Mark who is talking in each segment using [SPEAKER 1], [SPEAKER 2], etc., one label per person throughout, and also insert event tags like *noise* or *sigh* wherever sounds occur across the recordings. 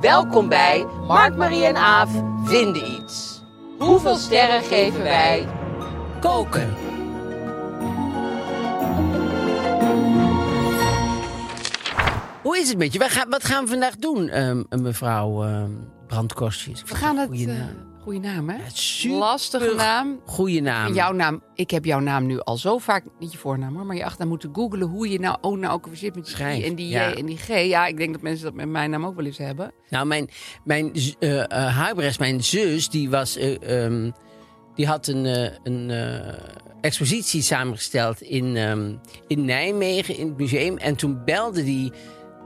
[SPEAKER 1] Welkom bij Mark, Marie en Aaf vinden iets. Hoeveel sterren geven wij koken? Hoe is het met je? Wat gaan, wat gaan we vandaag doen, ehm, mevrouw ehm Brandkostjes?
[SPEAKER 2] We gaan het... eh,
[SPEAKER 1] Goeie
[SPEAKER 2] Goeie
[SPEAKER 1] naam.
[SPEAKER 2] naam, goeie naam hè?
[SPEAKER 1] Ja, super
[SPEAKER 2] Lastige naam.
[SPEAKER 1] Goeie naam.
[SPEAKER 2] En jouw naam, ik heb jouw naam nu al zo vaak, niet je voornaam hoor, maar je achternaam moeten googelen hoe je nou oh nou ook weer zit met die I
[SPEAKER 1] Schrijf,
[SPEAKER 2] en die J
[SPEAKER 1] ja.
[SPEAKER 2] en die G. Ja, ik denk dat mensen dat met mijn naam ook wel eens hebben.
[SPEAKER 1] Nou, mijn, mijn z- eh, eh, huibres, mijn zus, die was. eh, ehm, die had een, eh, een eh, expositie samengesteld in, ehm, in Nijmegen, in het museum. En toen belde die.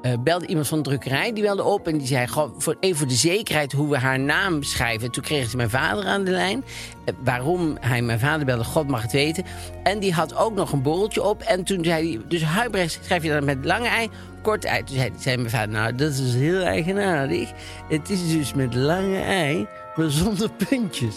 [SPEAKER 1] eh, belde iemand van de drukkerij, die belde op en die zei: Goh, voor, even voor de zekerheid hoe we haar naam schrijven. Toen kreeg ze mijn vader aan de lijn. Eh, waarom hij mijn vader belde, God mag het weten. En die had ook nog een borreltje op. En toen zei hij: Dus Huibrecht schrijf je dat met lange ei, kort ei. Toen zei, zei mijn vader: Nou, dat is heel eigenaardig. Het is dus met lange ei, maar zonder puntjes.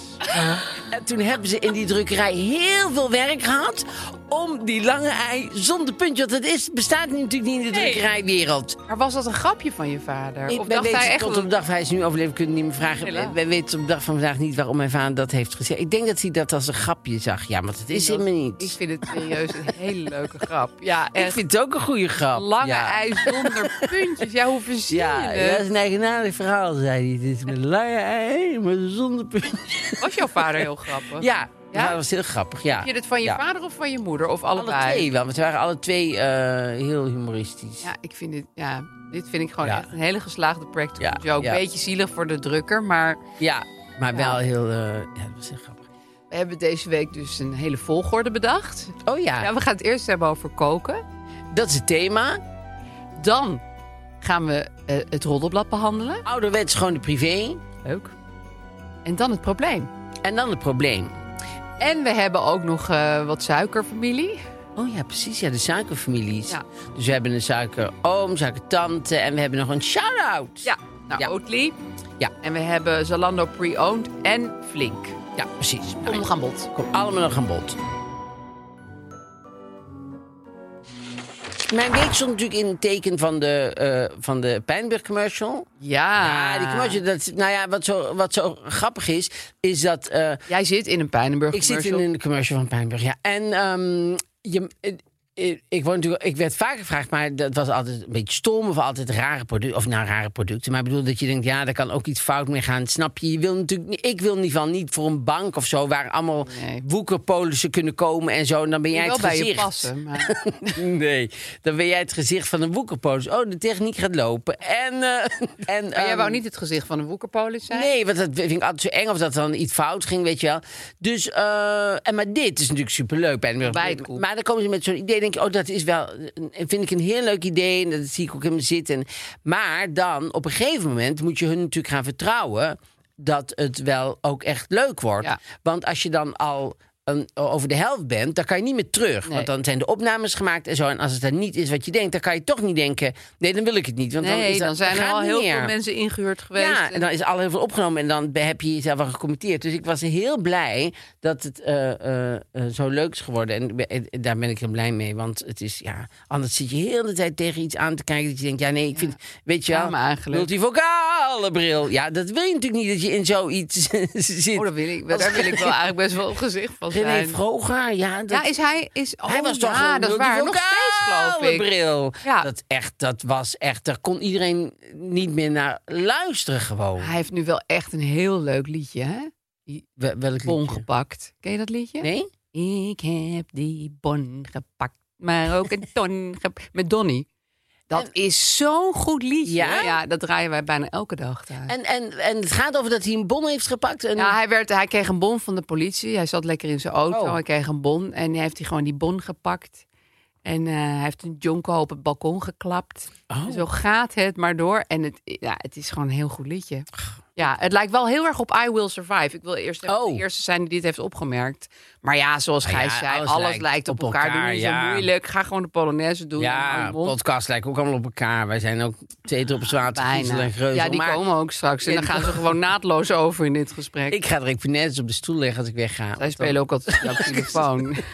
[SPEAKER 1] En toen hebben ze in die drukkerij heel veel werk gehad om die lange ei zonder puntje. Want dat is, bestaat nu natuurlijk niet in de drukkerijwereld.
[SPEAKER 2] Maar was dat een grapje van je vader?
[SPEAKER 1] Ik,
[SPEAKER 2] of
[SPEAKER 1] wij
[SPEAKER 2] dacht
[SPEAKER 1] weten
[SPEAKER 2] hij echt
[SPEAKER 1] tot
[SPEAKER 2] dat-
[SPEAKER 1] op de dag, hij is nu overleven, we kunnen niet meer vragen.
[SPEAKER 2] Helaas.
[SPEAKER 1] Wij weten op de dag van vandaag niet waarom mijn vader dat heeft gezegd. Ik denk dat hij dat als een grapje zag. Ja, want dat is
[SPEAKER 2] dat-
[SPEAKER 1] helemaal niet.
[SPEAKER 2] Ik vind het serieus een hele
[SPEAKER 1] *laughs*
[SPEAKER 2] leuke grap. Ja,
[SPEAKER 1] Ik
[SPEAKER 2] echt.
[SPEAKER 1] vind het ook een goede grap.
[SPEAKER 2] Lange
[SPEAKER 1] ja.
[SPEAKER 2] ei zonder puntjes. Ja, hoe
[SPEAKER 1] *laughs*
[SPEAKER 2] verzin
[SPEAKER 1] Ja,
[SPEAKER 2] je
[SPEAKER 1] dat
[SPEAKER 2] het?
[SPEAKER 1] is een eigenaardig verhaal, zei hij. Dit is met lange ei, maar zonder puntjes.
[SPEAKER 2] Was jouw vader heel
[SPEAKER 1] *laughs*
[SPEAKER 2] grappig?
[SPEAKER 1] Ja,
[SPEAKER 2] Ja?
[SPEAKER 1] dat was heel grappig, ja.
[SPEAKER 2] Heb je dit van je
[SPEAKER 1] Ja.
[SPEAKER 2] vader of van je moeder? Of
[SPEAKER 1] Alle
[SPEAKER 2] allebei?
[SPEAKER 1] twee wel, want ze waren alle twee eh, heel humoristisch.
[SPEAKER 2] Ja, ik vind dit, ja, dit vind ik gewoon
[SPEAKER 1] Ja.
[SPEAKER 2] echt een hele geslaagde practical
[SPEAKER 1] Ja,
[SPEAKER 2] joke.
[SPEAKER 1] ja.
[SPEAKER 2] Beetje zielig voor de drukker, maar
[SPEAKER 1] Ja, maar
[SPEAKER 2] Ja.
[SPEAKER 1] wel heel. eh, ja, dat was heel grappig.
[SPEAKER 2] we hebben deze week dus een hele volgorde bedacht.
[SPEAKER 1] Oh ja,
[SPEAKER 2] Ja, we gaan het eerst hebben over koken.
[SPEAKER 1] dat is het thema.
[SPEAKER 2] Dan gaan we eh, het roddelblad behandelen.
[SPEAKER 1] Ouderwets gewoon de privé.
[SPEAKER 2] Leuk. En dan het probleem.
[SPEAKER 1] En dan het probleem.
[SPEAKER 2] En we hebben ook nog eh, wat suikerfamilie.
[SPEAKER 1] Oh ja, precies. Ja, de suikerfamilies.
[SPEAKER 2] Ja.
[SPEAKER 1] Dus we hebben een suikeroom, suikertante en we hebben nog een shout-out.
[SPEAKER 2] Nou,
[SPEAKER 1] Ja.
[SPEAKER 2] Oatly.
[SPEAKER 1] Ja.
[SPEAKER 2] En we hebben Zalando Pre-Owned en Flink.
[SPEAKER 1] Ja, precies. Nou,
[SPEAKER 2] Kom nog aan bod.
[SPEAKER 1] Kom allemaal nog aan bod. Mijn week stond natuurlijk in het teken van de, eh, van de Pijnberg commercial.
[SPEAKER 2] Ja.
[SPEAKER 1] Ah, die commercial, dat, nou ja, wat zo, wat zo grappig is, is dat eh,
[SPEAKER 2] Jij zit in een Pijnenburg
[SPEAKER 1] Ik zit in
[SPEAKER 2] commercial.
[SPEAKER 1] een commercial van Pijnburg, ja. En ehm, je, eh, eh, ik, word natuurlijk, ik werd vaak gevraagd, maar dat was altijd een beetje stom of altijd rare producten. Of nou, rare producten. Maar ik bedoel dat je denkt, ja, daar kan ook iets fout mee gaan. Snap je? je wil natuurlijk, niet- ik wil in ieder geval niet voor een bank of zo, waar allemaal
[SPEAKER 2] Nee.
[SPEAKER 1] woekerpolissen kunnen komen en zo. En dan ben jij
[SPEAKER 2] wel
[SPEAKER 1] het
[SPEAKER 2] bij
[SPEAKER 1] gezicht.
[SPEAKER 2] je passen, maar...
[SPEAKER 1] *laughs* Nee, dan ben jij het gezicht van een woekerpolis. Oh, de techniek gaat lopen. En, eh, *laughs* en,
[SPEAKER 2] Maar jij
[SPEAKER 1] ehm,
[SPEAKER 2] wou niet het gezicht van een woekerpolis zijn?
[SPEAKER 1] Nee, want dat vind ik altijd zo eng of dat dan iets fout ging, weet je wel. Dus, eh, en maar dit is natuurlijk superleuk. Bij de-
[SPEAKER 2] Bij het koek.
[SPEAKER 1] maar dan komen ze met zo'n idee, denk ik, oh, dat is wel, een- vind ik een heel leuk idee en dat zie ik ook in me zitten. Maar dan, op een gegeven moment, moet je hun natuurlijk gaan vertrouwen dat het wel ook echt leuk wordt.
[SPEAKER 2] Ja.
[SPEAKER 1] Want als je dan al een- over de helft bent, dan kan je niet meer terug.
[SPEAKER 2] Nee.
[SPEAKER 1] Want dan zijn de opnames gemaakt en zo. En als het dan niet is wat je denkt, dan kan je toch niet denken... nee, dan wil ik het niet. Want dan,
[SPEAKER 2] Nee,
[SPEAKER 1] is
[SPEAKER 2] dan,
[SPEAKER 1] dat-
[SPEAKER 2] zijn er
[SPEAKER 1] gaat
[SPEAKER 2] al
[SPEAKER 1] niet
[SPEAKER 2] heel
[SPEAKER 1] meer.
[SPEAKER 2] veel mensen ingehuurd geweest.
[SPEAKER 1] Ja, en dan is al heel veel opgenomen en dan be- heb je jezelf al gecommitteerd. Dus ik was heel blij dat het eh, eh, eh, zo leuk is geworden. En, ik ben- en- en daar ben ik heel blij mee. Want het is, ja, anders zit je heel de tijd tegen iets aan te kijken. Dat je denkt, ja, nee, ik vind, weet je wel,
[SPEAKER 2] Samen eigenlijk.
[SPEAKER 1] multivocale bril. Ja, dat wil je natuurlijk niet dat je in zoiets *laughs* zit.
[SPEAKER 2] Oh, daar wil ik, daar wil ik wel eigenlijk best wel een gezicht van
[SPEAKER 1] René
[SPEAKER 2] zijn.
[SPEAKER 1] Vroger, ja. dat-
[SPEAKER 2] ja, is hij... Is, oh,
[SPEAKER 1] hij was toch
[SPEAKER 2] ja,
[SPEAKER 1] een-
[SPEAKER 2] dat is
[SPEAKER 1] die
[SPEAKER 2] waar. Nog steeds, geloof
[SPEAKER 1] vocale
[SPEAKER 2] ik.
[SPEAKER 1] bril.
[SPEAKER 2] Ja.
[SPEAKER 1] Dat, echt, dat was echt, daar kon iedereen niet meer naar luisteren gewoon.
[SPEAKER 2] Hij heeft nu wel echt een heel leuk liedje, hè? Die
[SPEAKER 1] Wel- Welk
[SPEAKER 2] bon
[SPEAKER 1] liedje?
[SPEAKER 2] gepakt. Ken je dat liedje?
[SPEAKER 1] Nee?
[SPEAKER 2] Ik heb die bon gepakt, maar ook een ton gepakt. Met Donny. Dat is zo'n goed liedje.
[SPEAKER 1] Ja?
[SPEAKER 2] dat draaien wij bijna elke dag thuis.
[SPEAKER 1] En, en, en het gaat over dat hij een bon heeft gepakt. En,
[SPEAKER 2] Ja, hij, werd, hij kreeg een bon van de politie. Hij zat lekker in zijn auto.
[SPEAKER 1] Oh.
[SPEAKER 2] Hij kreeg een bon en hij heeft hij gewoon die bon gepakt. En eh, hij heeft een jonko op het balkon geklapt.
[SPEAKER 1] Oh.
[SPEAKER 2] Zo gaat het maar door. En het, ja, het is gewoon een heel goed liedje. Ja, het lijkt wel heel erg op I Will Survive. Ik wil eerst even
[SPEAKER 1] Oh.
[SPEAKER 2] de eerste zijn die dit heeft opgemerkt. Maar ja, zoals
[SPEAKER 1] Nou ja,
[SPEAKER 2] Gijs zei,
[SPEAKER 1] alles
[SPEAKER 2] alles,
[SPEAKER 1] lijkt
[SPEAKER 2] lijkt, op
[SPEAKER 1] op
[SPEAKER 2] elkaar.
[SPEAKER 1] elkaar,
[SPEAKER 2] Doe niet
[SPEAKER 1] ja.
[SPEAKER 2] zo moeilijk. Ga gewoon de Polonaise doen. Hou
[SPEAKER 1] ja, Ah,
[SPEAKER 2] je mond.
[SPEAKER 1] podcast lijken ook allemaal op elkaar. Wij zijn ook zeter op zwaard, Giesel
[SPEAKER 2] bijna.
[SPEAKER 1] en Greuzel.
[SPEAKER 2] Ja, die
[SPEAKER 1] maar
[SPEAKER 2] komen ook straks. En dan gaan ze
[SPEAKER 1] *laughs*
[SPEAKER 2] gewoon naadloos over in dit gesprek.
[SPEAKER 1] Ik ga direct finesse op de stoel leggen als ik wegga.
[SPEAKER 2] Zij
[SPEAKER 1] Want dan-
[SPEAKER 2] spelen ook *laughs* altijd jouw telefoon. Ik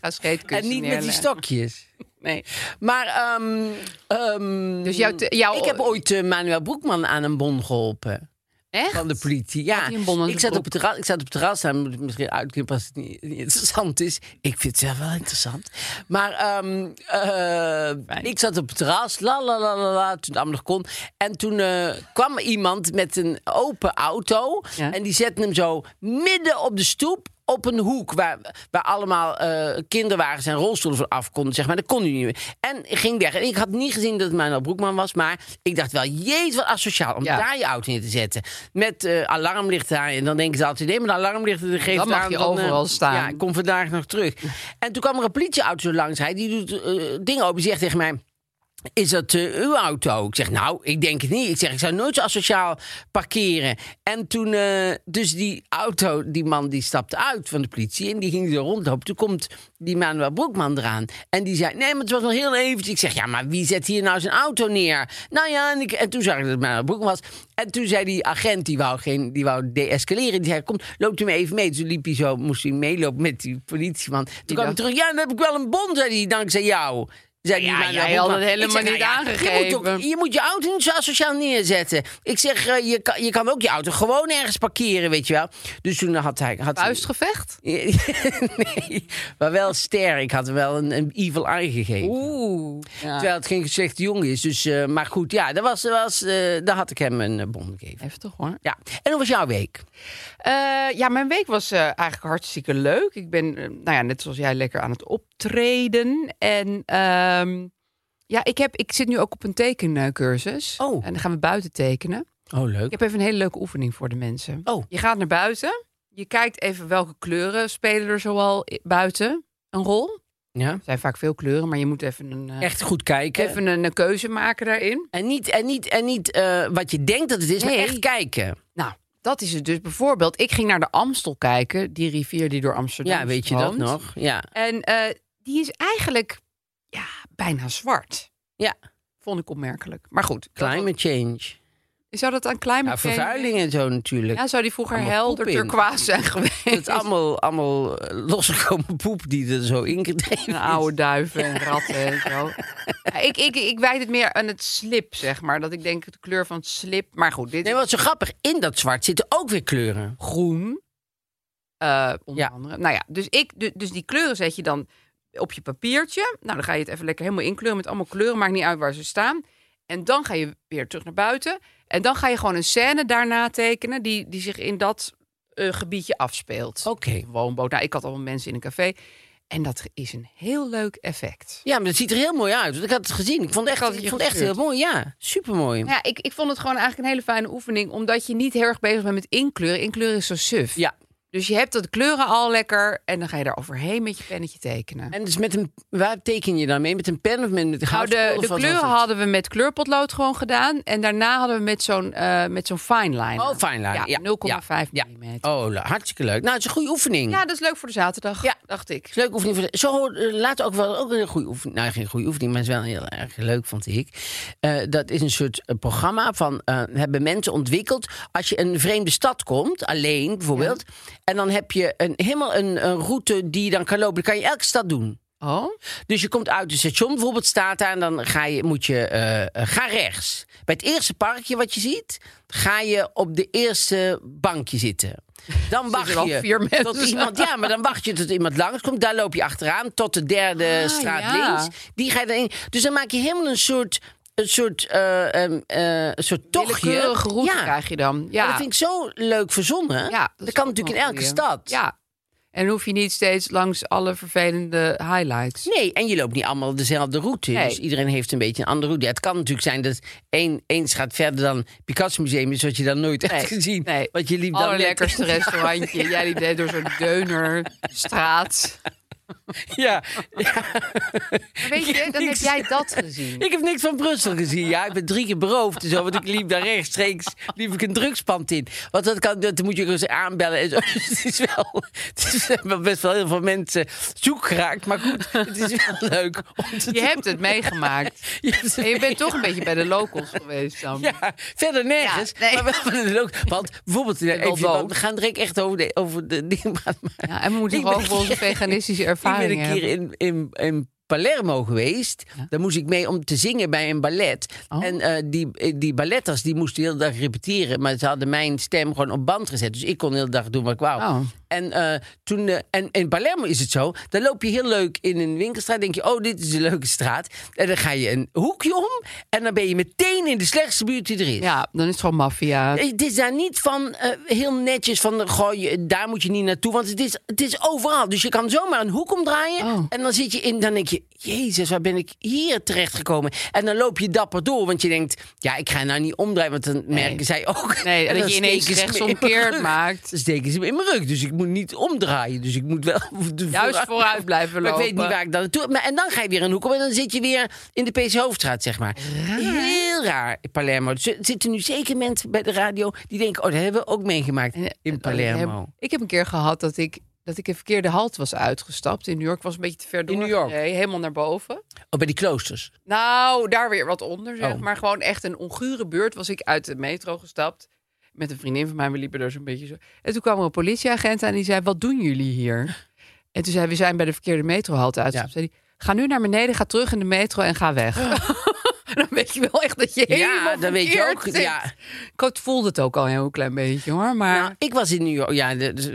[SPEAKER 2] ga
[SPEAKER 1] En
[SPEAKER 2] scheetkunsten
[SPEAKER 1] niet met die
[SPEAKER 2] neerleggen.
[SPEAKER 1] stokjes.
[SPEAKER 2] Nee.
[SPEAKER 1] Maar, ehm, ehm,
[SPEAKER 2] Dus jouw te- jouw-
[SPEAKER 1] ik heb ooit eh, Manuel Broekman aan een bon geholpen.
[SPEAKER 2] Echt?
[SPEAKER 1] Van de politie, ja.
[SPEAKER 2] Had hij een bon aan
[SPEAKER 1] ik,
[SPEAKER 2] zijn
[SPEAKER 1] zat op
[SPEAKER 2] broek?
[SPEAKER 1] het terras, ik zat op het terras, daar moet ik misschien uitknippen als het niet, niet interessant is. Ik vind het zelf wel interessant. Maar ehm, eh, ik zat op het terras, la la la la la, toen het allemaal nog kon. En toen eh, kwam er iemand met een open auto
[SPEAKER 2] Ja.
[SPEAKER 1] en die zette hem zo midden op de stoep. Op een hoek waar, waar allemaal eh, kinderwagens en rolstoelen van af konden. Zeg maar. Dat kon hij niet meer. En ging weg. En ik had niet gezien dat het Manuel Broekman was. Maar ik dacht wel, jeet wat asociaal. Om
[SPEAKER 2] Ja.
[SPEAKER 1] daar je auto neer te zetten. Met eh, alarmlichten aan. En dan denken ze altijd, nee, maar de alarmlichten die geeft
[SPEAKER 2] Dan mag
[SPEAKER 1] aan,
[SPEAKER 2] je
[SPEAKER 1] eh,
[SPEAKER 2] overal staan.
[SPEAKER 1] Ja, ik kom vandaag nog terug. En toen kwam er een politieauto zo langs. Hij die doet eh, dingen open. Die zegt tegen mij... Is dat eh, uw auto? Ik zeg, nou, ik denk het niet. Ik zeg, ik zou nooit zo asociaal parkeren. En toen, eh, dus die auto, die man die stapte uit van de politie en die ging er rondlopen. Toen komt die Manuel Broekman eraan. En die zei, nee, maar het was wel heel eventjes. Ik zeg, ja, maar wie zet hier nou zijn auto neer? Nou ja, en, ik, en toen zag ik dat het Manuel Broekman was. En toen zei die agent, die wou, geen, die wou deescaleren, die zei, kom, loopt u me even mee. Toen liep hij zo, moest hij meelopen met die politieman. Toen kwam hij
[SPEAKER 2] dacht-
[SPEAKER 1] terug, ja, dan heb ik wel een bon, zei hij, dankzij jou. Zei die
[SPEAKER 2] Ja,
[SPEAKER 1] Manuel
[SPEAKER 2] jij had
[SPEAKER 1] Broekman.
[SPEAKER 2] het helemaal
[SPEAKER 1] Ik zeg, nou
[SPEAKER 2] niet
[SPEAKER 1] ja, Je moet, ook,
[SPEAKER 2] aangegeven.
[SPEAKER 1] je moet je auto niet zo asociaal neerzetten. Ik zeg, eh, je, kan, je kan ook je auto gewoon ergens parkeren, weet je wel. Dus toen had hij... Had hij-
[SPEAKER 2] Vuistgevecht?
[SPEAKER 1] *laughs* nee, maar wel ster. Ik had hem wel een, een evil eye gegeven.
[SPEAKER 2] Oeh. Ja.
[SPEAKER 1] Terwijl het geen slechte jongen is. Dus, eh, maar goed, ja, daar, was, daar was, eh, daar had ik hem een eh, bon gegeven.
[SPEAKER 2] Heftig hoor.
[SPEAKER 1] Ja. En hoe was jouw week?
[SPEAKER 2] Eh, ja, mijn week was eh, eigenlijk hartstikke leuk. Ik ben, eh, nou ja, net zoals jij, lekker aan het optreden. En ehm, ja, ik, heb, ik zit nu ook op een tekencursus.
[SPEAKER 1] Oh.
[SPEAKER 2] En dan gaan we buiten tekenen.
[SPEAKER 1] Oh, leuk.
[SPEAKER 2] Ik heb even een hele leuke oefening voor de mensen.
[SPEAKER 1] Oh.
[SPEAKER 2] Je gaat naar buiten. Je kijkt even welke kleuren spelen er zoal i- buiten een rol.
[SPEAKER 1] Ja.
[SPEAKER 2] Er zijn vaak veel kleuren, maar je moet even een, eh,
[SPEAKER 1] Echt goed kijken.
[SPEAKER 2] even een eh, keuze maken daarin.
[SPEAKER 1] En niet, en niet, en niet eh, wat je denkt dat het is, maar
[SPEAKER 2] Nee.
[SPEAKER 1] echt kijken.
[SPEAKER 2] Nou, dat is het dus. Bijvoorbeeld, ik ging naar de Amstel kijken, die rivier die door Amsterdam
[SPEAKER 1] Ja, weet je dat
[SPEAKER 2] stroomt.
[SPEAKER 1] nog? Ja.
[SPEAKER 2] En eh, die is eigenlijk ja, bijna zwart.
[SPEAKER 1] Ja.
[SPEAKER 2] Vond ik opmerkelijk. Maar goed, dat-
[SPEAKER 1] Climate change.
[SPEAKER 2] zou dat aan climate
[SPEAKER 1] Ja,
[SPEAKER 2] change-
[SPEAKER 1] vervuiling en zo natuurlijk.
[SPEAKER 2] Ja, zou die vroeger
[SPEAKER 1] Allemaal
[SPEAKER 2] helder
[SPEAKER 1] poep in.
[SPEAKER 2] turquoise zijn geweest?
[SPEAKER 1] Het is
[SPEAKER 2] *laughs*
[SPEAKER 1] allemaal, allemaal eh, losgekomen poep die er zo ingedreven
[SPEAKER 2] En
[SPEAKER 1] is.
[SPEAKER 2] oude duiven en ratten en
[SPEAKER 1] *laughs*
[SPEAKER 2] zo. Ja, ik, ik, ik wijd het meer aan het slip, zeg maar. Dat ik denk de kleur van het slip. Maar goed, dit
[SPEAKER 1] Nee,
[SPEAKER 2] is
[SPEAKER 1] wat zo grappig. In dat zwart zitten ook weer kleuren.
[SPEAKER 2] groen. eh, onder
[SPEAKER 1] Ja.
[SPEAKER 2] andere. Nou ja, dus, ik, du- dus die kleuren zet je dan op je papiertje. Nou, dan ga je het even lekker helemaal inkleuren met allemaal kleuren. Maakt niet uit waar ze staan. En dan ga je weer terug naar buiten. En dan ga je gewoon een scène daarna tekenen die, die zich in dat eh, gebiedje afspeelt.
[SPEAKER 1] Oké.
[SPEAKER 2] Een Woonboot. Nou, ik had allemaal mensen in een café. En dat is een heel leuk effect.
[SPEAKER 1] Ja, maar het ziet er heel mooi uit. Want ik had het gezien. Ik vond het
[SPEAKER 2] had
[SPEAKER 1] echt,
[SPEAKER 2] het
[SPEAKER 1] ik
[SPEAKER 2] je
[SPEAKER 1] vond het echt heel
[SPEAKER 2] gestuurd.
[SPEAKER 1] mooi. Ja, supermooi.
[SPEAKER 2] Nou Ja, ik, ik vond het gewoon eigenlijk een hele fijne oefening. Omdat je niet heel erg bezig bent met inkleuren. Inkleuren is zo suf.
[SPEAKER 1] Ja.
[SPEAKER 2] Dus je hebt dat kleuren al lekker. En dan ga je daar overheen met je pennetje tekenen.
[SPEAKER 1] En dus met een, waar teken je dan mee? Met een pen of met een
[SPEAKER 2] nou,
[SPEAKER 1] gouden
[SPEAKER 2] de, de kleuren hadden we met kleurpotlood gewoon gedaan. En daarna hadden we met zo'n eh, met zo'n fine liner.
[SPEAKER 1] Oh, fine liner. Ja,
[SPEAKER 2] Ja, 0,5
[SPEAKER 1] ja.
[SPEAKER 2] millimeter.
[SPEAKER 1] Oh, le- hartstikke leuk. Nou, het is een goede oefening.
[SPEAKER 2] Ja, dat is leuk voor de zaterdag,
[SPEAKER 1] Ja.
[SPEAKER 2] dacht ik.
[SPEAKER 1] Leuk oefening. Voor de- zo hoor- eh, laat ook wel ook een goede oefening. Nou, geen goede oefening, maar het is wel heel erg leuk, vond ik. Eh, dat is een soort eh, programma van eh, hebben mensen ontwikkeld. Als je in een vreemde stad komt, alleen bijvoorbeeld. En dan heb je een, helemaal een, een route die je dan kan lopen. Dan kan je elke stad doen.
[SPEAKER 2] Oh,
[SPEAKER 1] Dus je komt uit het station, bijvoorbeeld staat daar en dan ga je, moet je eh, eh, ga rechts. Bij het eerste parkje wat je ziet, ga je op de eerste bankje zitten.
[SPEAKER 2] *laughs*
[SPEAKER 1] Dan wacht
[SPEAKER 2] er al
[SPEAKER 1] je
[SPEAKER 2] vier
[SPEAKER 1] tot
[SPEAKER 2] mensen.
[SPEAKER 1] iemand, ja, maar dan wacht je tot iemand langskomt. Daar loop je achteraan tot de derde
[SPEAKER 2] Ah,
[SPEAKER 1] straat
[SPEAKER 2] ja.
[SPEAKER 1] links. Die ga je dan in. Dus dan maak je helemaal een soort, een soort, eh, ehm, eh, een soort tochtje.
[SPEAKER 2] willekeurige route
[SPEAKER 1] Ja.
[SPEAKER 2] krijg je dan. Ja,
[SPEAKER 1] Maar dat vind ik zo leuk verzonnen.
[SPEAKER 2] Ja,
[SPEAKER 1] dat,
[SPEAKER 2] is
[SPEAKER 1] kan
[SPEAKER 2] ook
[SPEAKER 1] natuurlijk in
[SPEAKER 2] wel
[SPEAKER 1] elke
[SPEAKER 2] een goeie.
[SPEAKER 1] stad.
[SPEAKER 2] Ja. En hoef je niet steeds langs alle vervelende highlights.
[SPEAKER 1] Nee, en je loopt niet allemaal dezelfde route.
[SPEAKER 2] Nee.
[SPEAKER 1] Dus iedereen heeft een beetje een andere route. Ja, het kan natuurlijk zijn dat één, eens gaat verder dan Picasso Museum is, wat je dan nooit hebt *laughs* gezien.
[SPEAKER 2] nee.
[SPEAKER 1] Wat je liep dan net- *laughs*
[SPEAKER 2] Allerlekkerste restaurantje. Jij die deed door zo'n deunerstraat.
[SPEAKER 1] Ja.
[SPEAKER 2] Maar weet je, dan heb
[SPEAKER 1] niks.
[SPEAKER 2] jij dat gezien.
[SPEAKER 1] Ik heb niks van Brussel gezien. Ja, ik ben drie keer beroofd en zo, want ik liep daar rechtstreeks liep ik een drugspand in. Want dat kan, dat moet je ook eens aanbellen. En zo. *laughs* Dus het is wel, het is wel best wel heel veel mensen zoek geraakt. Maar goed, het is wel leuk om te
[SPEAKER 2] Je
[SPEAKER 1] doen. *laughs*
[SPEAKER 2] hebt het meegemaakt.
[SPEAKER 1] Je hebt het
[SPEAKER 2] En je
[SPEAKER 1] *laughs*
[SPEAKER 2] bent toch een beetje bij de locals geweest dan.
[SPEAKER 1] Ja, verder nergens.
[SPEAKER 2] Ja, nee.
[SPEAKER 1] Maar wel van de
[SPEAKER 2] *laughs*
[SPEAKER 1] look. Want bijvoorbeeld, eh,
[SPEAKER 2] wel
[SPEAKER 1] even, want
[SPEAKER 2] dood.
[SPEAKER 1] we gaan direct echt over de, over de dingen praten. *laughs* maar
[SPEAKER 2] Ja, en we
[SPEAKER 1] *laughs*
[SPEAKER 2] moeten
[SPEAKER 1] Ik
[SPEAKER 2] nog
[SPEAKER 1] ben
[SPEAKER 2] over onze
[SPEAKER 1] een keer-
[SPEAKER 2] veganistische
[SPEAKER 1] Ik
[SPEAKER 2] ervaring
[SPEAKER 1] ben een keer
[SPEAKER 2] hebben.
[SPEAKER 1] in, in, in Palermo geweest. Daar moest ik mee om te zingen bij een ballet.
[SPEAKER 2] Oh.
[SPEAKER 1] En eh, die, eh, die balletters die moesten de hele dag repeteren. Maar ze hadden mijn stem gewoon op band gezet. Dus ik kon de hele dag doen wat ik wou.
[SPEAKER 2] Oh.
[SPEAKER 1] En, eh, toen, eh, en in Palermo is het zo. Dan loop je heel leuk in een winkelstraat. denk je, oh, dit is een leuke straat. En dan ga je een hoekje om. En dan ben je meteen in de slechtste buurt die er is.
[SPEAKER 2] Ja, dan is het gewoon maffia.
[SPEAKER 1] Het is daar niet van eh, heel netjes van eh, goh, je- daar moet je niet naartoe. Want het is, het is overal. Dus je kan zomaar een hoek omdraaien.
[SPEAKER 2] Oh.
[SPEAKER 1] En dan zit je in, dan denk je, Jezus, waar ben ik hier terechtgekomen? En dan loop je dapper door. Want je denkt, ja, ik ga nou niet omdraaien. Want dan merken zij ook. *laughs*
[SPEAKER 2] Nee, dat
[SPEAKER 1] dan
[SPEAKER 2] je ineens
[SPEAKER 1] steken ze me
[SPEAKER 2] rechtsomkeert
[SPEAKER 1] in mijn rug.
[SPEAKER 2] maakt.
[SPEAKER 1] Dan steken ze me in mijn rug. Dus ik moet niet omdraaien. Dus ik moet wel. *laughs* de
[SPEAKER 2] Juist vooruit blijven
[SPEAKER 1] Maar ik weet
[SPEAKER 2] lopen.
[SPEAKER 1] niet waar ik dan naartoe. Maar, en dan ga je weer een hoek om. En dan zit je weer in de PC Hoofdstraat, zeg maar. Heel raar in Palermo. Dus Er zitten nu zeker mensen bij de radio die denken: oh, dat hebben we ook meegemaakt
[SPEAKER 2] En, eh,
[SPEAKER 1] in Palermo.
[SPEAKER 2] heb- Ik heb een keer gehad dat ik, dat ik een verkeerde halt was uitgestapt. In New York Ik was een beetje te ver door.
[SPEAKER 1] New York?
[SPEAKER 2] helemaal naar boven.
[SPEAKER 1] Oh, bij die kloosters.
[SPEAKER 2] Nou, daar weer wat onder, zeg.
[SPEAKER 1] Oh.
[SPEAKER 2] Maar gewoon echt een ongure buurt was ik uit de metro gestapt. Met een vriendin van mij, we liepen er zo'n beetje zo. En toen kwam er een politieagent aan die zei, wat doen jullie
[SPEAKER 1] *laughs*
[SPEAKER 2] hier? En toen zei hij, we zijn bij de verkeerde metrohalte uit.
[SPEAKER 1] Ja.
[SPEAKER 2] Zei hij, ga nu naar beneden, ga terug in de metro en ga weg. *laughs* dan weet je wel echt dat je helemaal
[SPEAKER 1] Ah. ja, dat weet je
[SPEAKER 2] verkeerd
[SPEAKER 1] ook.
[SPEAKER 2] zit.
[SPEAKER 1] Ja.
[SPEAKER 2] Ik voelde het ook al een heel klein beetje, hoor. Maar
[SPEAKER 1] Nou, ik was in New York. Ja, de- dus,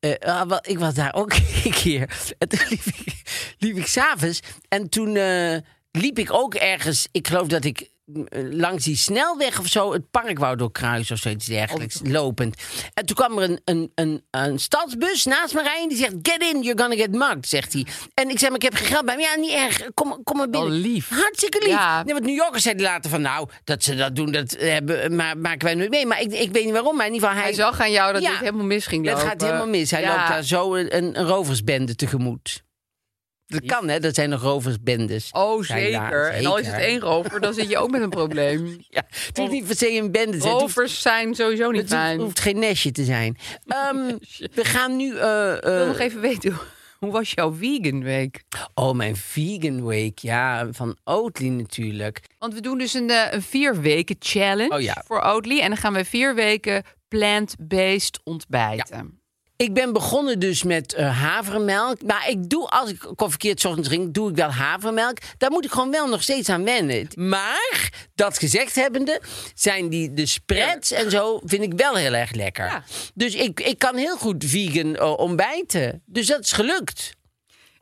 [SPEAKER 1] eh, eh, ah, wel, ik was daar ook *laughs* een keer. En toen liep ik, liep ik s'avonds. En toen eh, liep ik ook ergens. Ik geloof dat ik mm, eh, langs die snelweg of zo het park wou doorkruisen of zoiets
[SPEAKER 2] Oh,
[SPEAKER 1] dergelijks. Lopend. En toen kwam er een, een, een, een stadsbus naast me rijden. Die zegt: Get in, you're gonna get mugged, zegt hij. En ik zeg: maar, Ik heb geen geld bij me. Ja, niet erg. Kom, kom maar binnen.
[SPEAKER 2] Wel Oh, lief.
[SPEAKER 1] Hartstikke lief.
[SPEAKER 2] Ja.
[SPEAKER 1] Nee, want New Yorkers zeiden later van, nou, dat ze dat doen, dat hebben, maar maken wij nooit mee. Maar ik, ik weet niet waarom, maar in ieder geval... Hij,
[SPEAKER 2] Hij zag aan jou dat
[SPEAKER 1] Ja.
[SPEAKER 2] dit helemaal mis ging
[SPEAKER 1] dat
[SPEAKER 2] lopen.
[SPEAKER 1] gaat helemaal mis. Hij
[SPEAKER 2] Ja.
[SPEAKER 1] loopt daar zo een, een een roversbende tegemoet. Dat kan, hè? Dat zijn nog roversbendes.
[SPEAKER 2] Oh,
[SPEAKER 1] Zijn daar,
[SPEAKER 2] zeker. En al is het
[SPEAKER 1] zeker.
[SPEAKER 2] één rover, dan zit je ook met een
[SPEAKER 1] *laughs*
[SPEAKER 2] probleem.
[SPEAKER 1] Ja, het hoeft niet per se een bende te zijn. Het hoeft-
[SPEAKER 2] Rovers zijn sowieso niet
[SPEAKER 1] Het hoeft,
[SPEAKER 2] fijn. Ik
[SPEAKER 1] hoeft geen nestje te
[SPEAKER 2] *laughs*
[SPEAKER 1] zijn. Ehm, we gaan nu... eh, eh,
[SPEAKER 2] wil nog even weten, *laughs* hoe- hoe was jouw vegan week?
[SPEAKER 1] oh, mijn vegan week. Ja, van Oatly natuurlijk.
[SPEAKER 2] Want we doen dus een, eh, een vier weken challenge
[SPEAKER 1] Oh, ja.
[SPEAKER 2] voor Oatly. En dan gaan we vier weken plant-based ontbijten.
[SPEAKER 1] Ik ben begonnen dus met eh, havermelk. Maar ik doe, als ik koffiekeert 's ochtends drink, doe ik wel havermelk. Daar moet ik gewoon wel nog steeds aan wennen. Maar, dat gezegd hebbende, zijn die de spreads en zo, vind ik wel heel erg lekker.
[SPEAKER 2] Ja.
[SPEAKER 1] Dus ik, ik kan heel goed vegan eh, ontbijten. Dus dat is gelukt.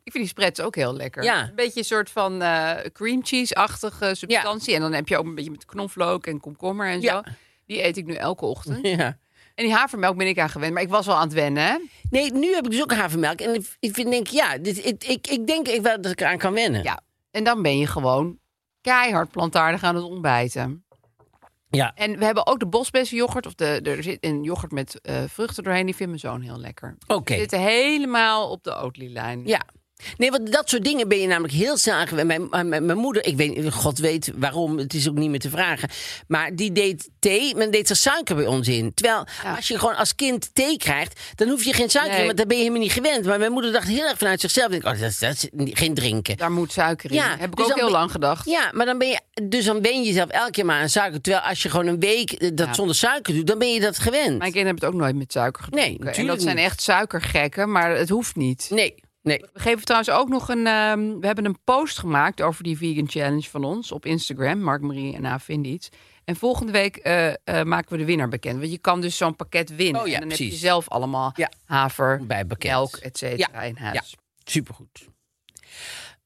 [SPEAKER 2] Ik vind die spreads ook heel lekker.
[SPEAKER 1] Ja.
[SPEAKER 2] Een beetje een soort van eh, cream cheese-achtige substantie. En dan heb je ook een beetje met knoflook en komkommer en
[SPEAKER 1] Ja.
[SPEAKER 2] zo. Die eet ik nu elke ochtend.
[SPEAKER 1] Ja.
[SPEAKER 2] En die havermelk ben ik aan gewend. Maar ik was wel aan het wennen, hè?
[SPEAKER 1] Nee, nu heb ik dus ook havermelk. En ik- ik vind, denk, ja, dit, ik, ik, ik denk ik wel dat ik eraan kan wennen.
[SPEAKER 2] Ja, en dan ben je gewoon keihard plantaardig aan het ontbijten.
[SPEAKER 1] Ja.
[SPEAKER 2] En we hebben ook de bosbessenyoghurt. Of de, de- er zit een yoghurt met eh, vruchten doorheen. Die vindt mijn zoon heel lekker.
[SPEAKER 1] Oké.
[SPEAKER 2] We zitten helemaal op de Oatly-lijn.
[SPEAKER 1] Ja. Nee, want dat soort dingen ben je namelijk heel snel aangewend. Mijn, mijn, mijn- mijn moeder, ik weet, God weet waarom, het is ook niet meer te vragen. Maar die deed thee, men deed er suiker bij ons in. Terwijl als je gewoon als kind thee krijgt, dan hoef je geen suiker
[SPEAKER 2] Nee.
[SPEAKER 1] in, want daar ben je helemaal niet gewend. Maar mijn moeder dacht heel erg vanuit zichzelf, denk, ik, oh, dat, is- dat is ni- geen drinken.
[SPEAKER 2] Daar moet suiker in.
[SPEAKER 1] Ja,
[SPEAKER 2] Heb ik
[SPEAKER 1] dus
[SPEAKER 2] ook
[SPEAKER 1] dan
[SPEAKER 2] heel
[SPEAKER 1] ben-
[SPEAKER 2] lang gedacht.
[SPEAKER 1] Ja, maar dan ben je, dus dan ben je jezelf elke keer maar aan suiker. Terwijl als je gewoon een week eh, dat zonder suiker doet, dan ben je dat gewend.
[SPEAKER 2] Mijn kinderen hebben het ook nooit met suiker gedronken.
[SPEAKER 1] Nee, natuurlijk
[SPEAKER 2] En dat zijn
[SPEAKER 1] niet.
[SPEAKER 2] echt suikergekken, maar het hoeft niet.
[SPEAKER 1] Nee. Nee.
[SPEAKER 2] We geven trouwens ook nog een. ehm, we hebben een post gemaakt over die vegan challenge van ons op Instagram. Mark Marie en A vinden iets. En volgende week eh, eh, maken we de winnaar bekend. Want je kan dus zo'n pakket winnen.
[SPEAKER 1] Oh ja,
[SPEAKER 2] en dan heb
[SPEAKER 1] precies.
[SPEAKER 2] je zelf allemaal
[SPEAKER 1] Ja.
[SPEAKER 2] haver,
[SPEAKER 1] Bijbekend.
[SPEAKER 2] melk, et cetera
[SPEAKER 1] Ja.
[SPEAKER 2] in huis.
[SPEAKER 1] Ja, supergoed.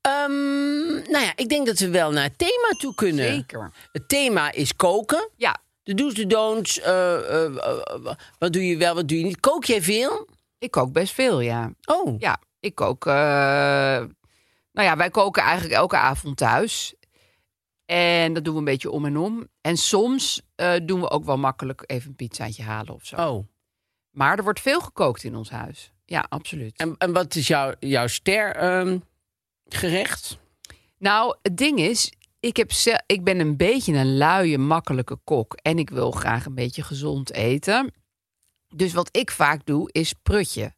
[SPEAKER 1] Ehm, nou ja, ik denk dat we wel naar het thema toe kunnen.
[SPEAKER 2] Zeker.
[SPEAKER 1] Het thema is koken.
[SPEAKER 2] Ja,
[SPEAKER 1] De do's, de don'ts. eh, eh, eh, wat doe je wel, wat doe je niet. Kook jij veel?
[SPEAKER 2] ik kook best veel, ja.
[SPEAKER 1] Oh,
[SPEAKER 2] Ja, ik kook. eh, nou ja, wij koken eigenlijk elke avond thuis. En dat doen we een beetje om en om. En soms eh, doen we ook wel makkelijk even een pizzaatje halen of zo.
[SPEAKER 1] oh.
[SPEAKER 2] Maar er wordt veel gekookt in ons huis. Ja, absoluut.
[SPEAKER 1] En, en wat is jouw, jouw ster ehm, gerecht?
[SPEAKER 2] Nou, het ding is, ik, heb ze- ik ben een beetje een luie, makkelijke kok. En ik wil graag een beetje gezond eten. Dus wat ik vaak doe, is prutje.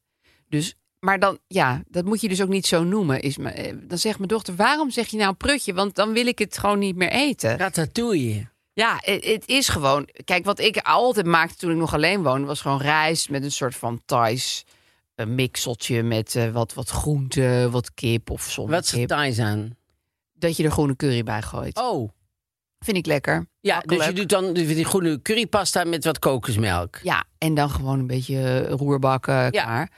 [SPEAKER 2] Dus, maar dan, ja, dat moet je dus ook niet zo noemen. Is me, eh, dan zegt mijn dochter, waarom zeg je nou prutje? Want dan wil ik het gewoon niet meer eten.
[SPEAKER 1] Ratatouille.
[SPEAKER 2] Ja, het, het is gewoon. Kijk, wat ik altijd maakte toen ik nog alleen woonde, was gewoon rijst met een soort van Thais eh, mixeltje met eh, wat, wat groente, wat kip of zonder
[SPEAKER 1] Wat is
[SPEAKER 2] kip.
[SPEAKER 1] Thais aan?
[SPEAKER 2] Dat je er groene curry bij gooit.
[SPEAKER 1] Oh,
[SPEAKER 2] Vind ik lekker.
[SPEAKER 1] ja. Dus
[SPEAKER 2] Makkelijk.
[SPEAKER 1] je doet dan die groene currypasta met wat kokosmelk.
[SPEAKER 2] Ja, en dan gewoon een beetje eh, roerbakken klaar.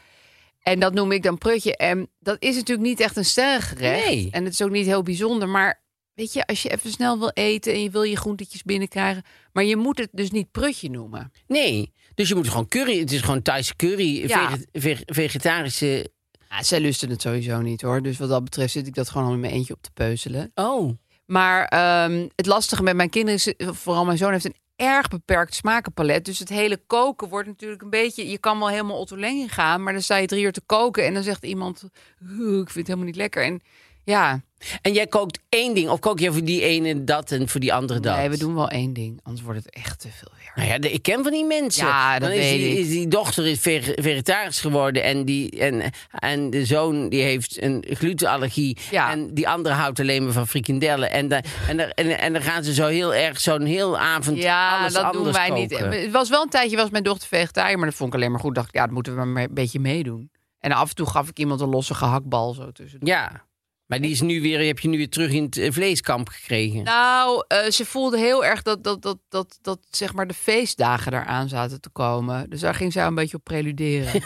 [SPEAKER 2] En dat noem ik dan prutje. En dat is natuurlijk niet echt een sterrengerecht.
[SPEAKER 1] Nee.
[SPEAKER 2] En het is ook niet heel bijzonder. Maar weet je, als je even snel wil eten en je wil je groentetjes binnenkrijgen. Maar je moet het dus niet prutje noemen.
[SPEAKER 1] Nee. Dus je moet gewoon curry. Het is gewoon Thaise curry.
[SPEAKER 2] Ja.
[SPEAKER 1] vege- vege- vegetarische.
[SPEAKER 2] Ja, zij lusten het sowieso niet hoor. Dus wat dat betreft zit ik dat gewoon al in mijn eentje op te peuzelen.
[SPEAKER 1] Oh.
[SPEAKER 2] Maar ehm, het lastige met mijn kinderen is, eh, vooral mijn zoon heeft een erg beperkt smakenpalet. Dus het hele koken wordt natuurlijk een beetje. Je kan wel helemaal Otto Lengi gaan, maar dan sta je drie uur te koken en dan zegt iemand: "Oeh, ik vind het helemaal niet lekker. En ja,
[SPEAKER 1] En jij kookt één ding. Of kook jij voor die ene dat en voor die andere dat?
[SPEAKER 2] nee, we doen wel één ding, anders wordt het echt te veel werk.
[SPEAKER 1] Nou ja, de- ik ken van die mensen.
[SPEAKER 2] Ja, dat
[SPEAKER 1] Dan is, die,
[SPEAKER 2] weet ik.
[SPEAKER 1] is die dochter is vege- vegetarisch geworden en, die, en, en de zoon die heeft een glutenallergie.
[SPEAKER 2] Ja.
[SPEAKER 1] En die andere houdt alleen maar van frikandellen. En, da- en, daar- en, en dan gaan ze zo heel erg, zo'n heel avond
[SPEAKER 2] Ja,
[SPEAKER 1] alles
[SPEAKER 2] dat
[SPEAKER 1] anders
[SPEAKER 2] doen wij niet.
[SPEAKER 1] koken.
[SPEAKER 2] Het was wel een tijdje was mijn dochter vegetariër, maar dat vond ik alleen maar goed. Dacht ik, ja, dat moeten we maar een beetje meedoen. En af en toe gaf ik iemand een losse gehaktbal zo tussen.
[SPEAKER 1] Ja, maar die is nu weer, heb je nu weer terug in het eh, vleeskamp gekregen.
[SPEAKER 2] Nou, eh, ze voelde heel erg dat, dat, dat, dat, dat zeg maar de feestdagen eraan zaten te komen. Dus daar ging zij een beetje op preluderen.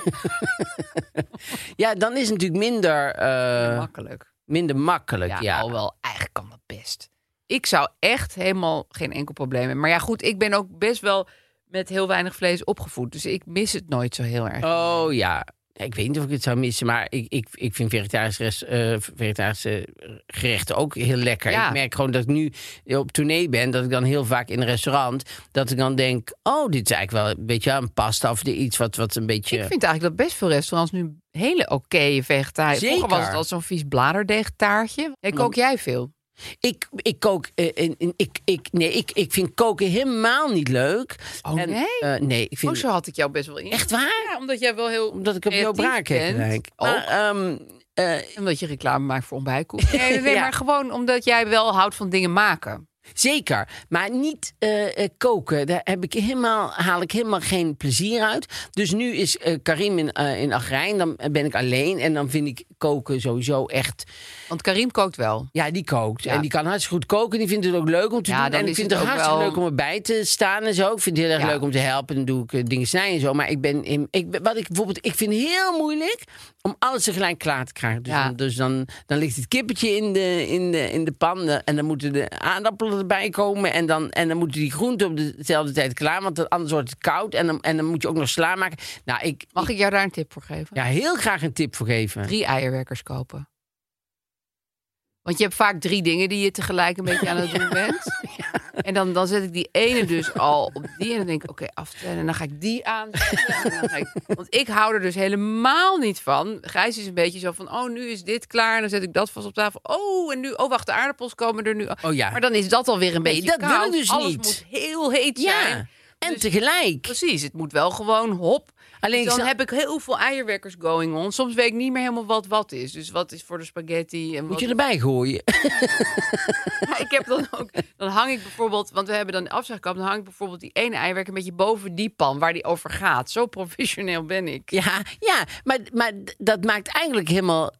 [SPEAKER 1] Ja, dan is het natuurlijk minder, eh,
[SPEAKER 2] Makkelijk.
[SPEAKER 1] minder makkelijk.
[SPEAKER 2] Ja,
[SPEAKER 1] Ja,
[SPEAKER 2] al wel, eigenlijk kan dat best. Ik zou echt helemaal geen enkel probleem hebben. Maar ja, goed, ik ben ook best wel met heel weinig vlees opgevoed. Dus ik mis het nooit zo heel erg.
[SPEAKER 1] Oh ja. Ik weet niet of ik het zou missen, maar ik, ik, ik vind vegetarische, rest- eh, vegetarische gerechten ook heel lekker.
[SPEAKER 2] Ja.
[SPEAKER 1] Ik merk gewoon dat ik nu op tournee ben, dat ik dan heel vaak in een restaurant, dat ik dan denk, oh, dit is eigenlijk wel een beetje een pasta of iets wat, wat een beetje...
[SPEAKER 2] Ik vind eigenlijk dat best veel restaurants nu hele oké vegetariër. Vroeger
[SPEAKER 1] Zeker.
[SPEAKER 2] was het al zo'n vies bladerdeegtaartje. Hey, kook jij veel?
[SPEAKER 1] Ik, ik kook. eh, en- en ik, ik, nee, ik, ik vind koken helemaal niet leuk.
[SPEAKER 2] Oh, nee?
[SPEAKER 1] eh, nee, ik vind.
[SPEAKER 2] Oh, zo had ik jou best wel in.
[SPEAKER 1] Echt waar?
[SPEAKER 2] Ja, omdat jij wel heel
[SPEAKER 1] Omdat ik op jouw
[SPEAKER 2] creatief
[SPEAKER 1] braak heb
[SPEAKER 2] bent. Oh,
[SPEAKER 1] gelijk.
[SPEAKER 2] Ook.
[SPEAKER 1] Maar, ehm, eh,
[SPEAKER 2] Omdat je reclame maakt voor ontbijtkoek. Nee, nee, nee, *laughs*
[SPEAKER 1] Ja.
[SPEAKER 2] maar gewoon omdat jij wel houdt van dingen maken.
[SPEAKER 1] Zeker, maar niet eh, eh, koken. Daar heb ik helemaal, haal ik helemaal geen plezier uit. Dus nu is eh, Karim in, eh in Agrijn, dan ben ik alleen. En dan vind ik koken sowieso echt...
[SPEAKER 2] Want Karim kookt wel.
[SPEAKER 1] Ja, die kookt.
[SPEAKER 2] Ja.
[SPEAKER 1] En die kan hartstikke goed koken. Die vindt het ook leuk om te
[SPEAKER 2] Ja,
[SPEAKER 1] doen.
[SPEAKER 2] dan
[SPEAKER 1] En ik
[SPEAKER 2] is
[SPEAKER 1] vind
[SPEAKER 2] het
[SPEAKER 1] het
[SPEAKER 2] ook
[SPEAKER 1] hartstikke
[SPEAKER 2] wel-
[SPEAKER 1] leuk om erbij te staan en zo. Ik vind het heel erg
[SPEAKER 2] Ja.
[SPEAKER 1] leuk om te helpen. Dan doe ik eh, dingen snijden en zo. Maar ik ben... In, ik, ben- wat ik bijvoorbeeld... Ik vind het heel moeilijk om alles tegelijk klaar te krijgen. Dus,
[SPEAKER 2] Ja.
[SPEAKER 1] dan, dus dan, dan ligt het kippetje in de, in, de, in de pan. Eh, En dan moeten de aardappelen erbij komen. En dan, en dan moeten die groenten op dezelfde tijd klaar. Want dan- anders wordt het koud. En dan, en dan moet je ook nog sla maken. Nou, ik...
[SPEAKER 2] Mag ik jou daar een tip voor geven?
[SPEAKER 1] Ja, heel graag een tip voor geven.
[SPEAKER 2] Drie eierwerkers kopen. Want je hebt vaak drie dingen die je tegelijk een beetje aan het doen bent. En dan, dan zet ik die ene dus al op die. En dan denk ik, oké, aftellen. En dan ga ik die aan. want ik hou er dus helemaal niet van. Gijs is een beetje zo van, oh, nu is dit klaar. En dan zet ik dat vast op tafel. Oh, en nu, oh, wacht, de aardappels komen er nu.
[SPEAKER 1] Oh ja.
[SPEAKER 2] Maar dan is dat alweer een
[SPEAKER 1] Nee,
[SPEAKER 2] beetje
[SPEAKER 1] dat wil ik
[SPEAKER 2] koud.
[SPEAKER 1] dus
[SPEAKER 2] Alles
[SPEAKER 1] niet.
[SPEAKER 2] moet heel heet
[SPEAKER 1] Ja,
[SPEAKER 2] zijn.
[SPEAKER 1] en
[SPEAKER 2] Dus-
[SPEAKER 1] tegelijk.
[SPEAKER 2] Precies, het moet wel gewoon hop.
[SPEAKER 1] Alleen
[SPEAKER 2] Alleen
[SPEAKER 1] ik
[SPEAKER 2] dan
[SPEAKER 1] snap-
[SPEAKER 2] heb ik heel veel eierwekkers going on. Soms weet ik niet meer helemaal wat wat is. Dus wat is voor de spaghetti en
[SPEAKER 1] Moet
[SPEAKER 2] wat...
[SPEAKER 1] je erbij gooien.
[SPEAKER 2] *laughs* Ja, ik heb dan ook... Dan hang ik bijvoorbeeld... Want we hebben dan een afzuigkap. Dan hang ik bijvoorbeeld die ene eierwerker een beetje boven die pan waar die over gaat. Zo professioneel ben ik.
[SPEAKER 1] Ja, ja maar, maar d- dat maakt eigenlijk helemaal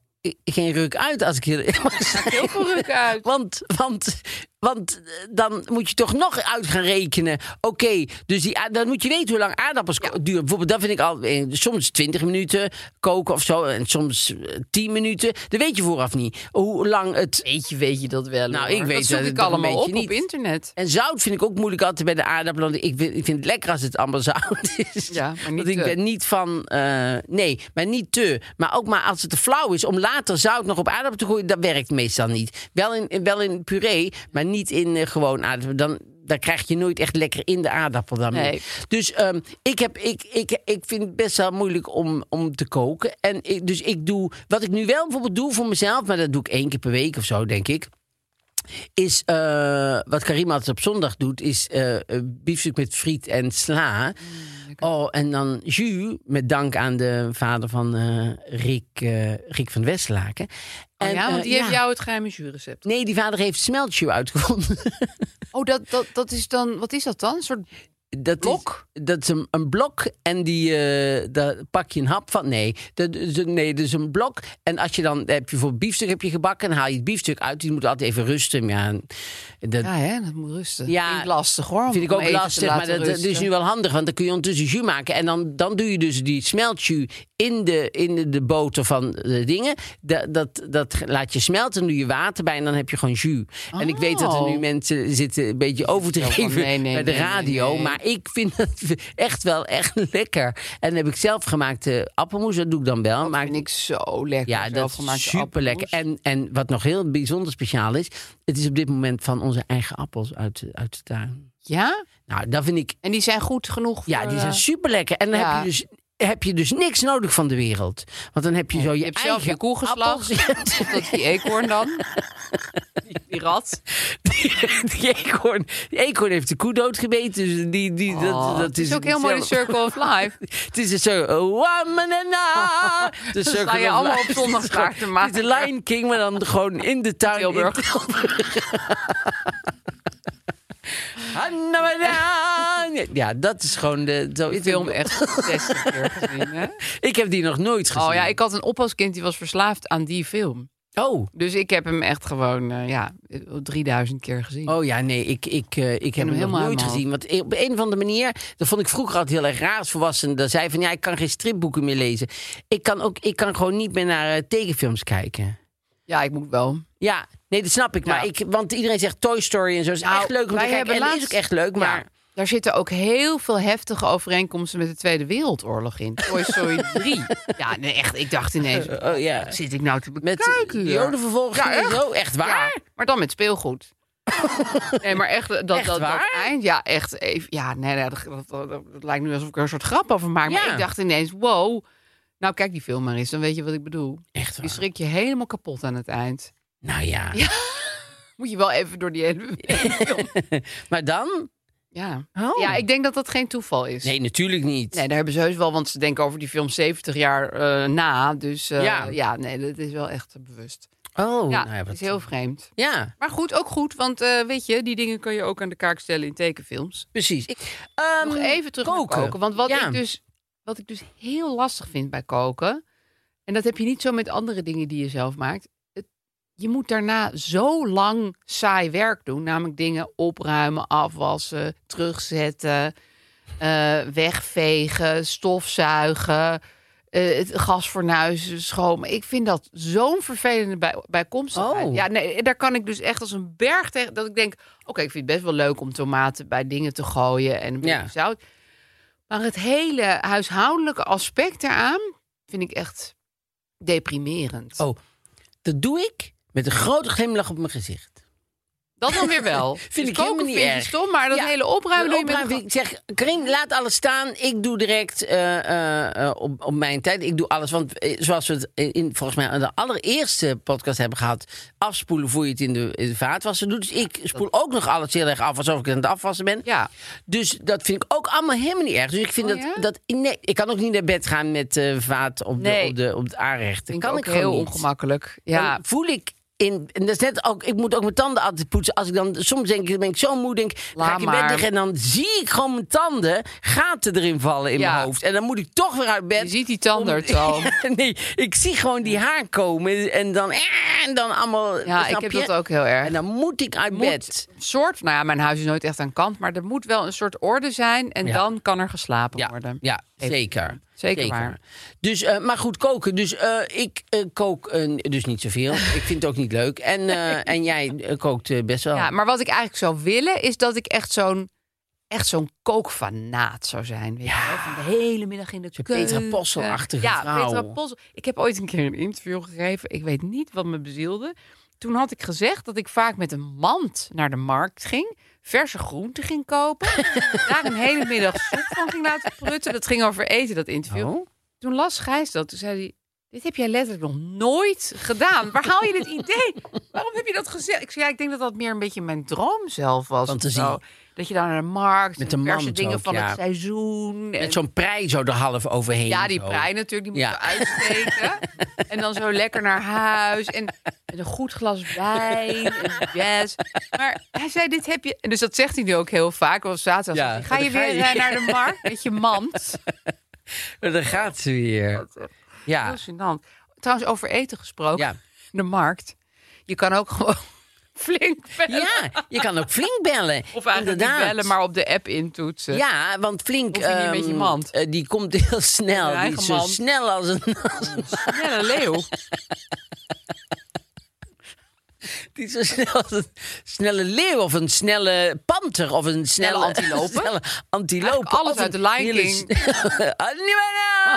[SPEAKER 1] geen ruk uit als ik je eerlijk mag
[SPEAKER 2] *laughs* maakt
[SPEAKER 1] zijn.
[SPEAKER 2] heel veel
[SPEAKER 1] *laughs*
[SPEAKER 2] ruk uit.
[SPEAKER 1] Want, want, want eh, dan moet je toch nog uit gaan rekenen. Oké, dus die, a- dan moet je weten hoe lang aardappels ko- duren. Bijvoorbeeld, dat vind ik al eh, soms 20 minuten koken of zo. En soms eh, 10 minuten. Dat weet je vooraf niet. Hoe lang het.
[SPEAKER 3] Weet je, weet je dat wel.
[SPEAKER 1] Nou,
[SPEAKER 3] hoor.
[SPEAKER 1] ik weet
[SPEAKER 2] dat zoek
[SPEAKER 1] het
[SPEAKER 2] ik
[SPEAKER 1] toch een
[SPEAKER 2] allemaal op
[SPEAKER 1] beetje
[SPEAKER 2] op
[SPEAKER 1] niet.
[SPEAKER 2] internet.
[SPEAKER 1] En zout vind ik ook moeilijk altijd bij de aardappelen. want Ik vind, ik vind het lekker als het allemaal *laughs* zout is.
[SPEAKER 2] Ja, maar niet
[SPEAKER 1] Want ik
[SPEAKER 2] te.
[SPEAKER 1] ben niet van... eh, nee, maar niet te. Maar ook maar als het te flauw is. Om later zout nog op aardappelen te gooien, dat werkt meestal niet. Wel in, in- wel in puree, maar niet in eh, gewoon aardappelen. Dan, dan krijg je nooit echt lekker in de aardappel dan mee.
[SPEAKER 2] Nee.
[SPEAKER 1] Dus ehm, ik, heb, ik, ik, ik vind het best wel moeilijk om, om te koken. En ik, dus ik doe... Wat ik nu wel bijvoorbeeld doe voor mezelf... maar dat doe ik één keer per week of zo, denk ik is eh, wat Karim altijd op zondag doet, is eh eh, biefstuk met friet en sla.
[SPEAKER 2] Mm,
[SPEAKER 1] oh, en dan jus, met dank aan de vader van eh, Rick, eh, Rick van Westlaken.
[SPEAKER 2] Oh
[SPEAKER 1] En,
[SPEAKER 2] ja, want
[SPEAKER 1] eh,
[SPEAKER 2] die heeft jou het geheime juurrecept.
[SPEAKER 1] Nee, die vader heeft smeltjus uitgevonden. *laughs*
[SPEAKER 2] Oh, dat, dat, dat is dan, wat is dat dan? Een soort
[SPEAKER 1] dat
[SPEAKER 2] Blok?
[SPEAKER 1] Is, dat is een, een blok en die, eh, daar pak je een hap van. Nee, dat is, een- nee, dat is een blok. En als je dan heb je voor biefstuk heb je gebakken, dan haal je het biefstuk uit. Die moet altijd even rusten. Ja, en dat,
[SPEAKER 2] Ja, hè, dat moet rusten.
[SPEAKER 1] Ja,
[SPEAKER 2] Vind ik lastig hoor. om
[SPEAKER 1] Vind ik
[SPEAKER 2] Oh, om
[SPEAKER 1] ook
[SPEAKER 2] eten te
[SPEAKER 1] lastig,
[SPEAKER 2] laten
[SPEAKER 1] maar dat, dat
[SPEAKER 2] rusten.
[SPEAKER 1] is nu wel handig, want dan kun je ondertussen jus maken. En dan, dan doe je dus die smeltjus in de, in de, de boter van de dingen. Dat, dat, dat laat je smelten, dan doe je water bij en dan heb je gewoon jus. En ik weet dat er nu
[SPEAKER 2] Oh.
[SPEAKER 1] mensen zitten een beetje over te
[SPEAKER 2] Zo van,
[SPEAKER 1] geven
[SPEAKER 2] nee, nee,
[SPEAKER 1] bij de
[SPEAKER 2] nee, nee,
[SPEAKER 1] radio.
[SPEAKER 2] nee.
[SPEAKER 1] Maar ik vind dat *laughs* echt wel echt lekker. En dan heb ik zelf gemaakte appelmoes, dat doe ik dan wel.
[SPEAKER 2] Dat
[SPEAKER 1] maar
[SPEAKER 2] vind ik zo lekker.
[SPEAKER 1] ja, dat
[SPEAKER 2] zelfgemaakte
[SPEAKER 1] is super lekker.
[SPEAKER 2] appelmoes.
[SPEAKER 1] En, en wat nog heel bijzonder speciaal is, het is op dit moment van onze eigen appels uit, de- uit de tuin.
[SPEAKER 2] Ja?
[SPEAKER 1] Nou, dat vind ik
[SPEAKER 2] En die zijn goed genoeg voor...
[SPEAKER 1] ja, die
[SPEAKER 2] eh,
[SPEAKER 1] zijn super lekker. En dan
[SPEAKER 2] ja.
[SPEAKER 1] heb, je dus, heb je dus niks nodig van de wereld. Want dan heb je zo je,
[SPEAKER 2] Je hebt zelf
[SPEAKER 1] eigen
[SPEAKER 2] je koe
[SPEAKER 1] appels. *laughs*
[SPEAKER 2] geslacht. *laughs* Of dat die eekhoorn dan. Die- Die rat.
[SPEAKER 1] die, eekhoorn, die eekhoorn heeft de koe doodgebeten. Dus die, die, dat,
[SPEAKER 2] Oh,
[SPEAKER 1] dat
[SPEAKER 2] het is ook heel mooi de
[SPEAKER 1] zelf-
[SPEAKER 2] circle of
[SPEAKER 1] *laughs*
[SPEAKER 2] life.
[SPEAKER 1] Het is een circle. Woman
[SPEAKER 2] *laughs*
[SPEAKER 1] and I. De
[SPEAKER 2] sta
[SPEAKER 1] circle
[SPEAKER 2] je
[SPEAKER 1] of
[SPEAKER 2] allemaal
[SPEAKER 1] life.
[SPEAKER 2] op
[SPEAKER 1] *laughs*
[SPEAKER 2] zondag klaar te maken.
[SPEAKER 1] Het is de Lion King, maar dan gewoon in de tuin. in
[SPEAKER 2] Tilburg.
[SPEAKER 1] Tilburg. Hanna Maria. Ja, dat is gewoon de... Zo,
[SPEAKER 2] Die film echt 60 keer gezien,
[SPEAKER 1] *laughs*
[SPEAKER 2] hè?
[SPEAKER 1] Ik heb die nog nooit gezien.
[SPEAKER 2] Oh ja, ik had een oppaskind die was verslaafd aan die film.
[SPEAKER 1] Oh.
[SPEAKER 2] Dus ik heb hem echt gewoon, eh, ja, 3000 keer gezien.
[SPEAKER 1] Oh ja, nee, ik, ik, eh, ik heb hem
[SPEAKER 2] hem
[SPEAKER 1] nog
[SPEAKER 2] helemaal
[SPEAKER 1] nooit
[SPEAKER 2] helemaal.
[SPEAKER 1] gezien. Want op een of andere manier, dat vond ik vroeger altijd heel erg raar als volwassene. Dat zei van, ja, ik kan geen stripboeken meer lezen. Ik kan, ook, ik kan gewoon niet meer naar eh, tekenfilms kijken.
[SPEAKER 2] Ja, ik moet wel.
[SPEAKER 1] Ja, nee, dat snap ik.
[SPEAKER 2] Ja.
[SPEAKER 1] Maar ik, want iedereen zegt Toy Story en zo. is
[SPEAKER 2] Nou,
[SPEAKER 1] echt leuk om te
[SPEAKER 2] wij
[SPEAKER 1] kijken. En
[SPEAKER 2] hebben
[SPEAKER 1] dat is
[SPEAKER 2] laatst-
[SPEAKER 1] ook echt leuk,
[SPEAKER 2] Ja,
[SPEAKER 1] maar...
[SPEAKER 2] daar zitten ook heel veel heftige overeenkomsten met de Tweede Wereldoorlog in. Toy Story
[SPEAKER 1] *laughs*
[SPEAKER 2] 3. Ja, nee, echt. Ik dacht ineens,
[SPEAKER 1] Oh ja.
[SPEAKER 2] zit ik nou te
[SPEAKER 1] Met
[SPEAKER 2] bekijken hier?
[SPEAKER 1] jodenvervolging
[SPEAKER 2] Ja,
[SPEAKER 1] en zo. Echt waar?
[SPEAKER 2] Ja, maar dan met
[SPEAKER 1] *laughs*
[SPEAKER 2] speelgoed. nee, maar echt dat,
[SPEAKER 1] Echt
[SPEAKER 2] dat,
[SPEAKER 1] waar?
[SPEAKER 2] dat eind. Ja, echt even. Ja, nee, nee, dat, dat, dat- dat lijkt nu alsof ik er een soort grap over maak.
[SPEAKER 1] Ja.
[SPEAKER 2] Maar ik dacht ineens, wow. Nou, kijk die film maar eens, dan weet je wat ik bedoel.
[SPEAKER 1] Echt
[SPEAKER 2] Die
[SPEAKER 1] waar?
[SPEAKER 2] schrik je helemaal kapot aan het eind.
[SPEAKER 1] Nou ja.
[SPEAKER 2] Moet je wel even door die hele
[SPEAKER 1] *laughs*
[SPEAKER 2] film.
[SPEAKER 1] maar dan?
[SPEAKER 2] Ja.
[SPEAKER 1] Oh.
[SPEAKER 2] ja, ik denk dat dat geen toeval is.
[SPEAKER 1] Nee, natuurlijk niet.
[SPEAKER 2] Nee, daar hebben ze heus wel, want ze denken over die film 70 jaar eh, na. Dus eh,
[SPEAKER 1] Ja.
[SPEAKER 2] ja. nee, dat is wel echt eh, bewust.
[SPEAKER 1] Oh,
[SPEAKER 2] ja,
[SPEAKER 1] nou ja,
[SPEAKER 2] het
[SPEAKER 1] wat-
[SPEAKER 2] is heel vreemd.
[SPEAKER 1] Ja.
[SPEAKER 2] Maar goed, ook goed, want eh, weet je, die dingen kan je ook aan de kaak stellen in tekenfilms.
[SPEAKER 1] Precies. Ehm,
[SPEAKER 2] Nog even terug naar koken. want wat,
[SPEAKER 1] Ja.
[SPEAKER 2] ik dus, wat ik dus heel lastig vind bij koken, en dat heb je niet zo met andere dingen die je zelf maakt. het- Je moet daarna zo lang saai werk doen. Namelijk dingen opruimen, afwassen, terugzetten, eh, wegvegen, stofzuigen, eh het gasfornuizen, schoon. Ik vind dat zo'n vervelende bij, bijkomstigheid.
[SPEAKER 1] Oh.
[SPEAKER 2] Ja, nee, daar kan ik dus echt als een berg tegen. Dat ik denk, oké, ik vind het best wel leuk om tomaten bij dingen te gooien en een beetje
[SPEAKER 1] Ja.
[SPEAKER 2] zout. Maar het hele huishoudelijke aspect daaraan vind ik echt deprimerend.
[SPEAKER 1] Oh, dat doe ik met een grote glimlach op mijn gezicht.
[SPEAKER 2] Dat dan weer
[SPEAKER 1] *laughs*
[SPEAKER 2] wel.
[SPEAKER 1] Vind
[SPEAKER 2] Dus
[SPEAKER 1] ik
[SPEAKER 2] koken
[SPEAKER 1] helemaal niet
[SPEAKER 2] vind je
[SPEAKER 1] erg.
[SPEAKER 2] stom, maar dat
[SPEAKER 1] Ja,
[SPEAKER 2] hele opruimen...
[SPEAKER 1] De
[SPEAKER 2] doe je met
[SPEAKER 1] opruim
[SPEAKER 2] een
[SPEAKER 1] vind ik zeg, Karim, laat alles staan. Ik doe direct eh, eh, eh, op, op mijn tijd. Ik doe alles. Want eh, zoals we het in, volgens mij aan de allereerste podcast hebben gehad... afspoelen voor je het in de, in de vaatwasser doet. Dus ik spoel ook nog alles heel erg af, alsof ik aan het afwassen ben.
[SPEAKER 2] Ja.
[SPEAKER 1] Dus dat vind ik ook allemaal helemaal niet erg. Dus ik vind
[SPEAKER 2] Oh,
[SPEAKER 1] dat,
[SPEAKER 2] ja?
[SPEAKER 1] dat... Nee, ik kan ook niet naar bed gaan met eh, vaat op,
[SPEAKER 2] Nee.
[SPEAKER 1] de, op, de, op het aanrecht. Dat
[SPEAKER 2] Vind
[SPEAKER 1] kan
[SPEAKER 2] ook
[SPEAKER 1] ik gewoon
[SPEAKER 2] heel
[SPEAKER 1] niet.
[SPEAKER 2] ongemakkelijk. Ja,
[SPEAKER 1] Dan voel ik in. En dat is net ook. Ik moet ook mijn tanden altijd poetsen. Als ik dan soms denk ik, dan ben ik zo moe, denk ik, dan
[SPEAKER 2] Laat
[SPEAKER 1] ga ik in bed
[SPEAKER 2] maar.
[SPEAKER 1] liggen en dan zie ik gewoon mijn tanden gaten erin vallen in
[SPEAKER 2] Ja.
[SPEAKER 1] mijn hoofd. En dan moet ik toch weer uit bed.
[SPEAKER 2] Je ziet die tandarts
[SPEAKER 1] *laughs*
[SPEAKER 2] al.
[SPEAKER 1] nee, ik zie gewoon die haar komen en dan eh, en dan allemaal.
[SPEAKER 2] Ja,
[SPEAKER 1] snap
[SPEAKER 2] ik heb
[SPEAKER 1] je?
[SPEAKER 2] dat ook heel erg.
[SPEAKER 1] En dan moet ik uit bed.
[SPEAKER 2] moet soort, nou ja, mijn huis is nooit echt aan kant, maar er moet wel een soort orde zijn en
[SPEAKER 1] Ja.
[SPEAKER 2] dan kan er geslapen
[SPEAKER 1] Ja,
[SPEAKER 2] worden.
[SPEAKER 1] ja
[SPEAKER 2] Even.
[SPEAKER 1] zeker.
[SPEAKER 2] Zeker waar.
[SPEAKER 1] Dus, eh, maar goed, koken. Dus eh, ik eh, kook eh, dus niet zoveel. ik vind het ook niet leuk. En, eh,
[SPEAKER 2] *laughs*
[SPEAKER 1] en jij eh, kookt eh, best wel.
[SPEAKER 2] Ja, maar wat ik eigenlijk zou willen is dat ik echt zo'n echt zo'n kookfanaat zou zijn. Weet je, wel? van de Ah. hele middag in de
[SPEAKER 1] Zo'n
[SPEAKER 2] keuken.
[SPEAKER 1] Petra Possel-achtige
[SPEAKER 2] ja,
[SPEAKER 1] vrouw.
[SPEAKER 2] Petra Possel. Ik heb ooit een keer een interview gegeven. Ik weet niet wat me bezielde. Toen had ik gezegd dat ik vaak met een mand naar de markt ging. Verse groenten ging
[SPEAKER 1] *laughs*
[SPEAKER 2] kopen. daar een hele middag soep van ging laten prutten. Dat ging over eten, dat interview.
[SPEAKER 1] Oh.
[SPEAKER 2] Toen las Gijs dat. Toen zei hij... Dit heb jij letterlijk nog nooit gedaan. Waar haal je dit idee? Waarom heb je dat gezegd? Ik zei, ja, ik denk dat dat meer een beetje mijn droom zelf was.
[SPEAKER 1] Van te
[SPEAKER 2] of zo.
[SPEAKER 1] zien.
[SPEAKER 2] Dat je daar naar de markt...
[SPEAKER 1] Met
[SPEAKER 2] en
[SPEAKER 1] de
[SPEAKER 2] verse
[SPEAKER 1] mand
[SPEAKER 2] dingen
[SPEAKER 1] ook,
[SPEAKER 2] van
[SPEAKER 1] ja.
[SPEAKER 2] het seizoen. en-
[SPEAKER 1] Met zo'n prei zo er half overheen.
[SPEAKER 2] ja, die
[SPEAKER 1] zo.
[SPEAKER 2] prei natuurlijk, die moet
[SPEAKER 1] Ja.
[SPEAKER 2] je
[SPEAKER 1] *laughs*
[SPEAKER 2] uitsteken. en dan zo lekker naar huis. En met een goed glas wijn. En jazz. Maar hij zei, dit heb je... En dus dat zegt hij nu ook heel vaak. Want zaterdag
[SPEAKER 1] Ja,
[SPEAKER 2] zegt hij,
[SPEAKER 1] dan
[SPEAKER 2] ga je
[SPEAKER 1] ga
[SPEAKER 2] weer
[SPEAKER 1] je.
[SPEAKER 2] eh, naar de markt met je mand?
[SPEAKER 1] Maar Daar gaat ze weer. *laughs* Ja.
[SPEAKER 2] Heel gênant. Trouwens, over eten gesproken.
[SPEAKER 1] Ja.
[SPEAKER 2] De markt. Je kan ook *laughs* gewoon flink bellen.
[SPEAKER 1] ja, je kan ook flink bellen.
[SPEAKER 2] *laughs* Of eigenlijk niet
[SPEAKER 1] Inderdaad.
[SPEAKER 2] bellen, maar op de app intoetsen.
[SPEAKER 1] Ja, want flink.
[SPEAKER 2] Hoef je niet met je
[SPEAKER 1] ehm,
[SPEAKER 2] mand.
[SPEAKER 1] eh, die komt heel
[SPEAKER 2] Met je
[SPEAKER 1] snel. Die
[SPEAKER 2] eigen
[SPEAKER 1] is zo
[SPEAKER 2] mand.
[SPEAKER 1] snel als een,
[SPEAKER 2] Snelle
[SPEAKER 1] *laughs*
[SPEAKER 2] leeuw.
[SPEAKER 1] die is zo snel als een snelle leeuw of een snelle panter of een snelle
[SPEAKER 2] antilope.
[SPEAKER 1] *laughs* snelle antilope.
[SPEAKER 2] Eigenlijk alles
[SPEAKER 1] of een
[SPEAKER 2] uit de Lion
[SPEAKER 1] hele
[SPEAKER 2] King.
[SPEAKER 1] snelle- *laughs* Ah,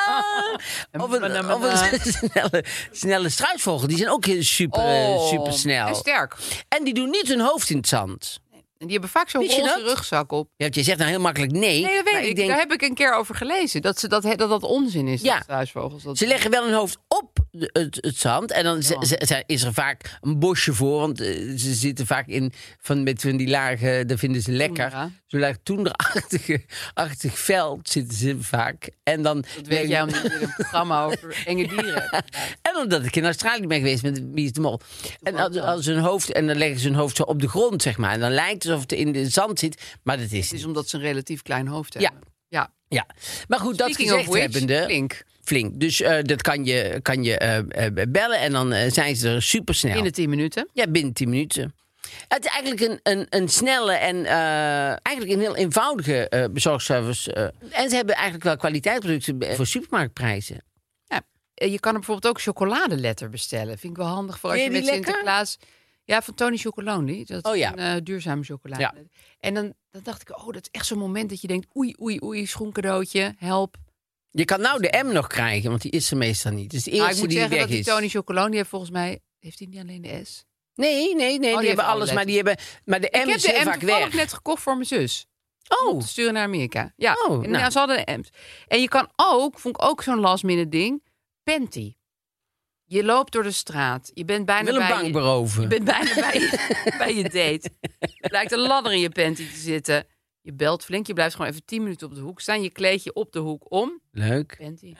[SPEAKER 1] Animana! of een, of een *laughs* snelle, snelle struisvogel. Die zijn ook heel super,
[SPEAKER 2] Oh,
[SPEAKER 1] super snel.
[SPEAKER 2] En sterk.
[SPEAKER 1] En die doen niet hun hoofd in het zand.
[SPEAKER 2] En die hebben vaak zo'n
[SPEAKER 1] Wist je
[SPEAKER 2] roze
[SPEAKER 1] dat?
[SPEAKER 2] rugzak op.
[SPEAKER 1] Ja, want je zegt nou heel makkelijk nee.
[SPEAKER 2] Nee, dat weet
[SPEAKER 1] maar
[SPEAKER 2] ik.
[SPEAKER 1] ik denk,
[SPEAKER 2] Daar heb ik een keer over gelezen. Dat ze, dat, dat, dat onzin is,
[SPEAKER 1] Ja.
[SPEAKER 2] dat struisvogels. Dat
[SPEAKER 1] Ze leggen wel hun hoofd op de- het, het zand. En dan ze- ze- ze- is er vaak een bosje voor. Want eh, ze zitten vaak in van, met van die lage. Dat vinden ze lekker.
[SPEAKER 2] Toendra.
[SPEAKER 1] Zo'n laag toenderachtige achtig veld zitten ze vaak. En dan.
[SPEAKER 2] Dat weet jij omdat je er een programma over enge dieren hebt.
[SPEAKER 1] *laughs* En omdat ik in Australië ben geweest met Wie is de Mol. En als, als hun hoofd. En dan leggen ze hun hoofd zo op de grond, zeg maar. En dan lijkt het alsof het in de zand zit. Maar dat is.
[SPEAKER 2] Het is
[SPEAKER 1] niet.
[SPEAKER 2] omdat ze een relatief klein hoofd
[SPEAKER 1] Ja.
[SPEAKER 2] hebben. Ja.
[SPEAKER 1] Ja. Maar goed, dat
[SPEAKER 2] Speaking
[SPEAKER 1] gezegd
[SPEAKER 2] of which,
[SPEAKER 1] hebbende.
[SPEAKER 2] flink.
[SPEAKER 1] Flink. Dus eh, dat kan je, kan je eh, eh, bellen. En dan eh, zijn ze er supersnel.
[SPEAKER 2] In de 10 minuten.
[SPEAKER 1] Ja, binnen 10 minuten. Het is eigenlijk een, een, een snelle en eh, eigenlijk een heel eenvoudige eh, bezorgservice. eh. En ze hebben eigenlijk wel kwaliteitsproducten eh, voor supermarktprijzen.
[SPEAKER 2] Ja. Eh, Je kan er bijvoorbeeld ook chocoladeletter bestellen. Vind ik wel handig voor als je
[SPEAKER 1] Vind je
[SPEAKER 2] met
[SPEAKER 1] die lekker?
[SPEAKER 2] Sinterklaas... Ja, van Tony Chocolonely. Dat is
[SPEAKER 1] Oh ja.
[SPEAKER 2] een eh, duurzame chocolade.
[SPEAKER 1] Ja.
[SPEAKER 2] En dan, dan dacht ik, oh, dat is echt zo'n moment dat je denkt... oei, oei, oei, schoencadeautje, help.
[SPEAKER 1] Je kan nou de M nog krijgen, want die is er meestal niet. Dus de
[SPEAKER 2] Maar
[SPEAKER 1] eerste
[SPEAKER 2] Ah, ik moet
[SPEAKER 1] die
[SPEAKER 2] zeggen
[SPEAKER 1] weg
[SPEAKER 2] dat die
[SPEAKER 1] is.
[SPEAKER 2] Tony Chocolonely heeft volgens mij... Heeft hij niet alleen de S?
[SPEAKER 1] Nee, nee, nee.
[SPEAKER 2] Oh, heeft
[SPEAKER 1] die hebben
[SPEAKER 2] alle
[SPEAKER 1] alles,
[SPEAKER 2] letters.
[SPEAKER 1] maar die hebben. Maar de M
[SPEAKER 2] ik heb
[SPEAKER 1] is
[SPEAKER 2] de
[SPEAKER 1] heel
[SPEAKER 2] M
[SPEAKER 1] vaak
[SPEAKER 2] toevallig
[SPEAKER 1] weg.
[SPEAKER 2] net gekocht voor mijn zus.
[SPEAKER 1] Oh,
[SPEAKER 2] te sturen naar Amerika. Ja,
[SPEAKER 1] Oh,
[SPEAKER 2] en,
[SPEAKER 1] nou.
[SPEAKER 2] ja, ze hadden de M's. En je kan ook, vond ik ook zo'n last minute ding, panty. Je loopt door de straat. Je bent
[SPEAKER 1] ik
[SPEAKER 2] bijna
[SPEAKER 1] wil een
[SPEAKER 2] bij
[SPEAKER 1] bank
[SPEAKER 2] je,
[SPEAKER 1] beroven.
[SPEAKER 2] je bent bijna bij je, *laughs* bij je date. Er lijkt een ladder in je panty te zitten. Je belt flink. Je blijft gewoon even 10 minuten op de hoek staan. Je kleed je op de hoek om.
[SPEAKER 1] Leuk. *laughs*
[SPEAKER 2] Panty.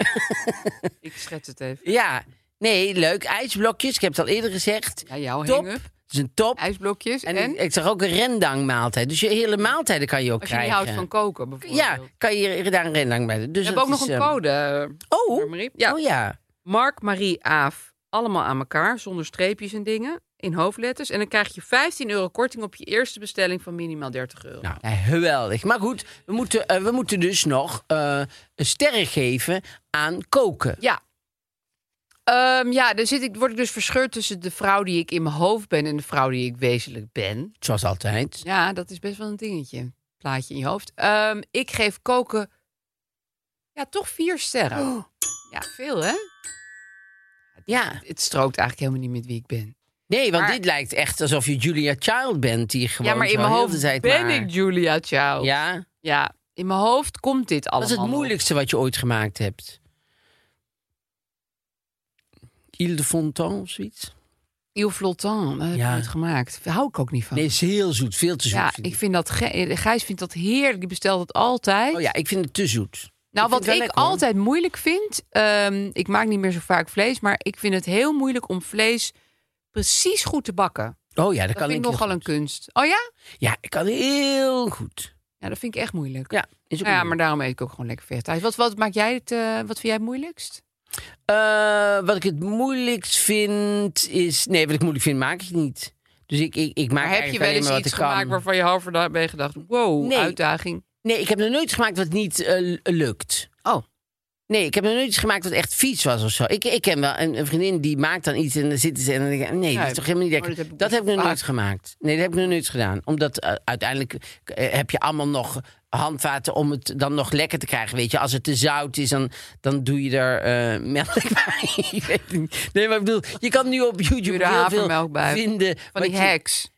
[SPEAKER 2] ik schets het even.
[SPEAKER 1] Ja, nee, leuk. IJsblokjes, ik heb het al eerder gezegd.
[SPEAKER 2] Ja, jouw
[SPEAKER 1] top.
[SPEAKER 2] hang-up.
[SPEAKER 1] Het is een top.
[SPEAKER 2] Ijsblokjes. En,
[SPEAKER 1] En, ik, ik zag ook een rendang maaltijd. Dus je hele maaltijden kan je ook
[SPEAKER 2] als je niet
[SPEAKER 1] krijgen.
[SPEAKER 2] houdt van koken bijvoorbeeld.
[SPEAKER 1] Ja, kan je daar een rendang bij doen. Dus
[SPEAKER 2] We
[SPEAKER 1] dat
[SPEAKER 2] hebben ook nog
[SPEAKER 1] is,
[SPEAKER 2] een
[SPEAKER 1] eh,
[SPEAKER 2] code. eh,
[SPEAKER 1] Oh,
[SPEAKER 2] Marie.
[SPEAKER 1] ja.
[SPEAKER 2] Ja.
[SPEAKER 1] oh ja.
[SPEAKER 2] Mark, Marie, Aaf. Allemaal aan elkaar, zonder streepjes en dingen. In hoofdletters. En dan krijg je 15 euro korting op je eerste bestelling van minimaal 30 euro.
[SPEAKER 1] Nou, ja, geweldig. Maar goed, we moeten, eh, we moeten dus nog eh, een sterren geven aan koken.
[SPEAKER 2] Ja. Ehm, ja, dan zit ik, word ik dus verscheurd tussen de vrouw die ik in mijn hoofd ben en de vrouw die ik wezenlijk ben.
[SPEAKER 1] Zoals altijd.
[SPEAKER 2] Ja, dat is best wel een dingetje. Plaatje in je hoofd. Ehm, ik geef koken. Ja, toch vier sterren. Ja, veel hè?
[SPEAKER 1] Ja.
[SPEAKER 2] Het strookt eigenlijk helemaal niet met wie ik ben.
[SPEAKER 1] Nee, want
[SPEAKER 2] Maar-
[SPEAKER 1] dit lijkt echt alsof je Julia Child bent. Die gewoon
[SPEAKER 2] ja, maar in
[SPEAKER 1] zo
[SPEAKER 2] mijn
[SPEAKER 1] heel
[SPEAKER 2] hoofd
[SPEAKER 1] de tijd
[SPEAKER 2] ben
[SPEAKER 1] maar-
[SPEAKER 2] ik Julia Child.
[SPEAKER 1] Ja,
[SPEAKER 2] Ja, in mijn hoofd komt dit allemaal.
[SPEAKER 1] dat is het
[SPEAKER 2] nog.
[SPEAKER 1] moeilijkste wat je ooit gemaakt hebt. Ile de Fontan of zoiets?
[SPEAKER 2] Oh. Il Flottant, dat heb
[SPEAKER 1] Ja.
[SPEAKER 2] ik nooit gemaakt. Daar hou ik ook niet van.
[SPEAKER 1] Nee, is heel zoet. Veel te zoet.
[SPEAKER 2] ja,
[SPEAKER 1] vind
[SPEAKER 2] ik vind dat... Ge- Gijs vindt dat heerlijk, die bestelt dat altijd.
[SPEAKER 1] Oh ja, ik vind het te zoet.
[SPEAKER 2] nou,
[SPEAKER 1] vind het
[SPEAKER 2] wat
[SPEAKER 1] wel
[SPEAKER 2] ik
[SPEAKER 1] lekker, hoor.
[SPEAKER 2] altijd moeilijk vind... ehm, ik maak niet meer zo vaak vlees, maar ik vind het heel moeilijk om vlees precies goed te bakken.
[SPEAKER 1] Oh ja, dat,
[SPEAKER 2] Dat
[SPEAKER 1] kan
[SPEAKER 2] vind
[SPEAKER 1] ik
[SPEAKER 2] ik nogal een kunst. Oh ja?
[SPEAKER 1] Ja, ik kan heel goed.
[SPEAKER 2] Ja, dat vind ik echt moeilijk.
[SPEAKER 1] Ja, is ook
[SPEAKER 2] Nou ja, maar
[SPEAKER 1] moeilijk.
[SPEAKER 2] daarom eet ik ook gewoon lekker vegetarisch. Wat, wat, maak jij het, eh, wat vind jij het moeilijkst?
[SPEAKER 1] Eh, wat ik het moeilijkst vind is... Nee, wat ik moeilijk vind maak ik niet. Dus ik, ik, ik maak
[SPEAKER 2] Maar heb je
[SPEAKER 1] eigenlijk
[SPEAKER 2] wel
[SPEAKER 1] alleen
[SPEAKER 2] eens
[SPEAKER 1] maar wat
[SPEAKER 2] iets
[SPEAKER 1] ik kan.
[SPEAKER 2] gemaakt waarvan je halverwege bij gedacht... wow,
[SPEAKER 1] Nee.
[SPEAKER 2] uitdaging.
[SPEAKER 1] Nee, ik heb nog nooit iets gemaakt wat niet eh, l- lukt.
[SPEAKER 2] Oh.
[SPEAKER 1] Nee, ik heb nog nooit iets gemaakt wat echt vies was of zo. Ik, ik ken wel een, een vriendin die maakt dan iets en dan zitten ze en dan denk ik... Nee, dat
[SPEAKER 2] Nee,
[SPEAKER 1] is toch helemaal niet
[SPEAKER 2] oh,
[SPEAKER 1] lekker.
[SPEAKER 2] dat heb ik
[SPEAKER 1] dat
[SPEAKER 2] ook
[SPEAKER 1] heb ik nog
[SPEAKER 2] vaak.
[SPEAKER 1] nooit gemaakt. Nee, dat heb ik nog nooit gedaan. Omdat eh, uiteindelijk eh, heb je allemaal nog handvaten om het dan nog lekker te krijgen. Weet je, als het te zout is, dan, dan doe je er eh melk *laughs* bij. Ik weet niet. nee, maar ik bedoel, je kan nu op YouTube
[SPEAKER 2] Doe
[SPEAKER 1] heel
[SPEAKER 2] er
[SPEAKER 1] veel
[SPEAKER 2] havermelk bij.
[SPEAKER 1] vinden.
[SPEAKER 2] Van
[SPEAKER 1] wat
[SPEAKER 2] die
[SPEAKER 1] je-
[SPEAKER 2] hacks.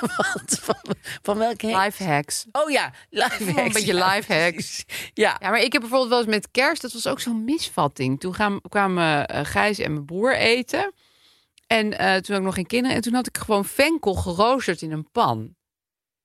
[SPEAKER 1] Wat? *laughs* van, van welke hack?
[SPEAKER 2] Life hacks.
[SPEAKER 1] Oh ja, live hacks.
[SPEAKER 2] Een beetje
[SPEAKER 1] *laughs* ja,
[SPEAKER 2] life hacks.
[SPEAKER 1] precies. Ja.
[SPEAKER 2] Ja, maar ik heb bijvoorbeeld wel eens met kerst, dat was ook zo'n misvatting. Toen gaan, kwamen eh, Gijs en mijn broer eten. En eh, toen had ik nog geen kinderen. En toen had ik gewoon venkel geroosterd in een pan.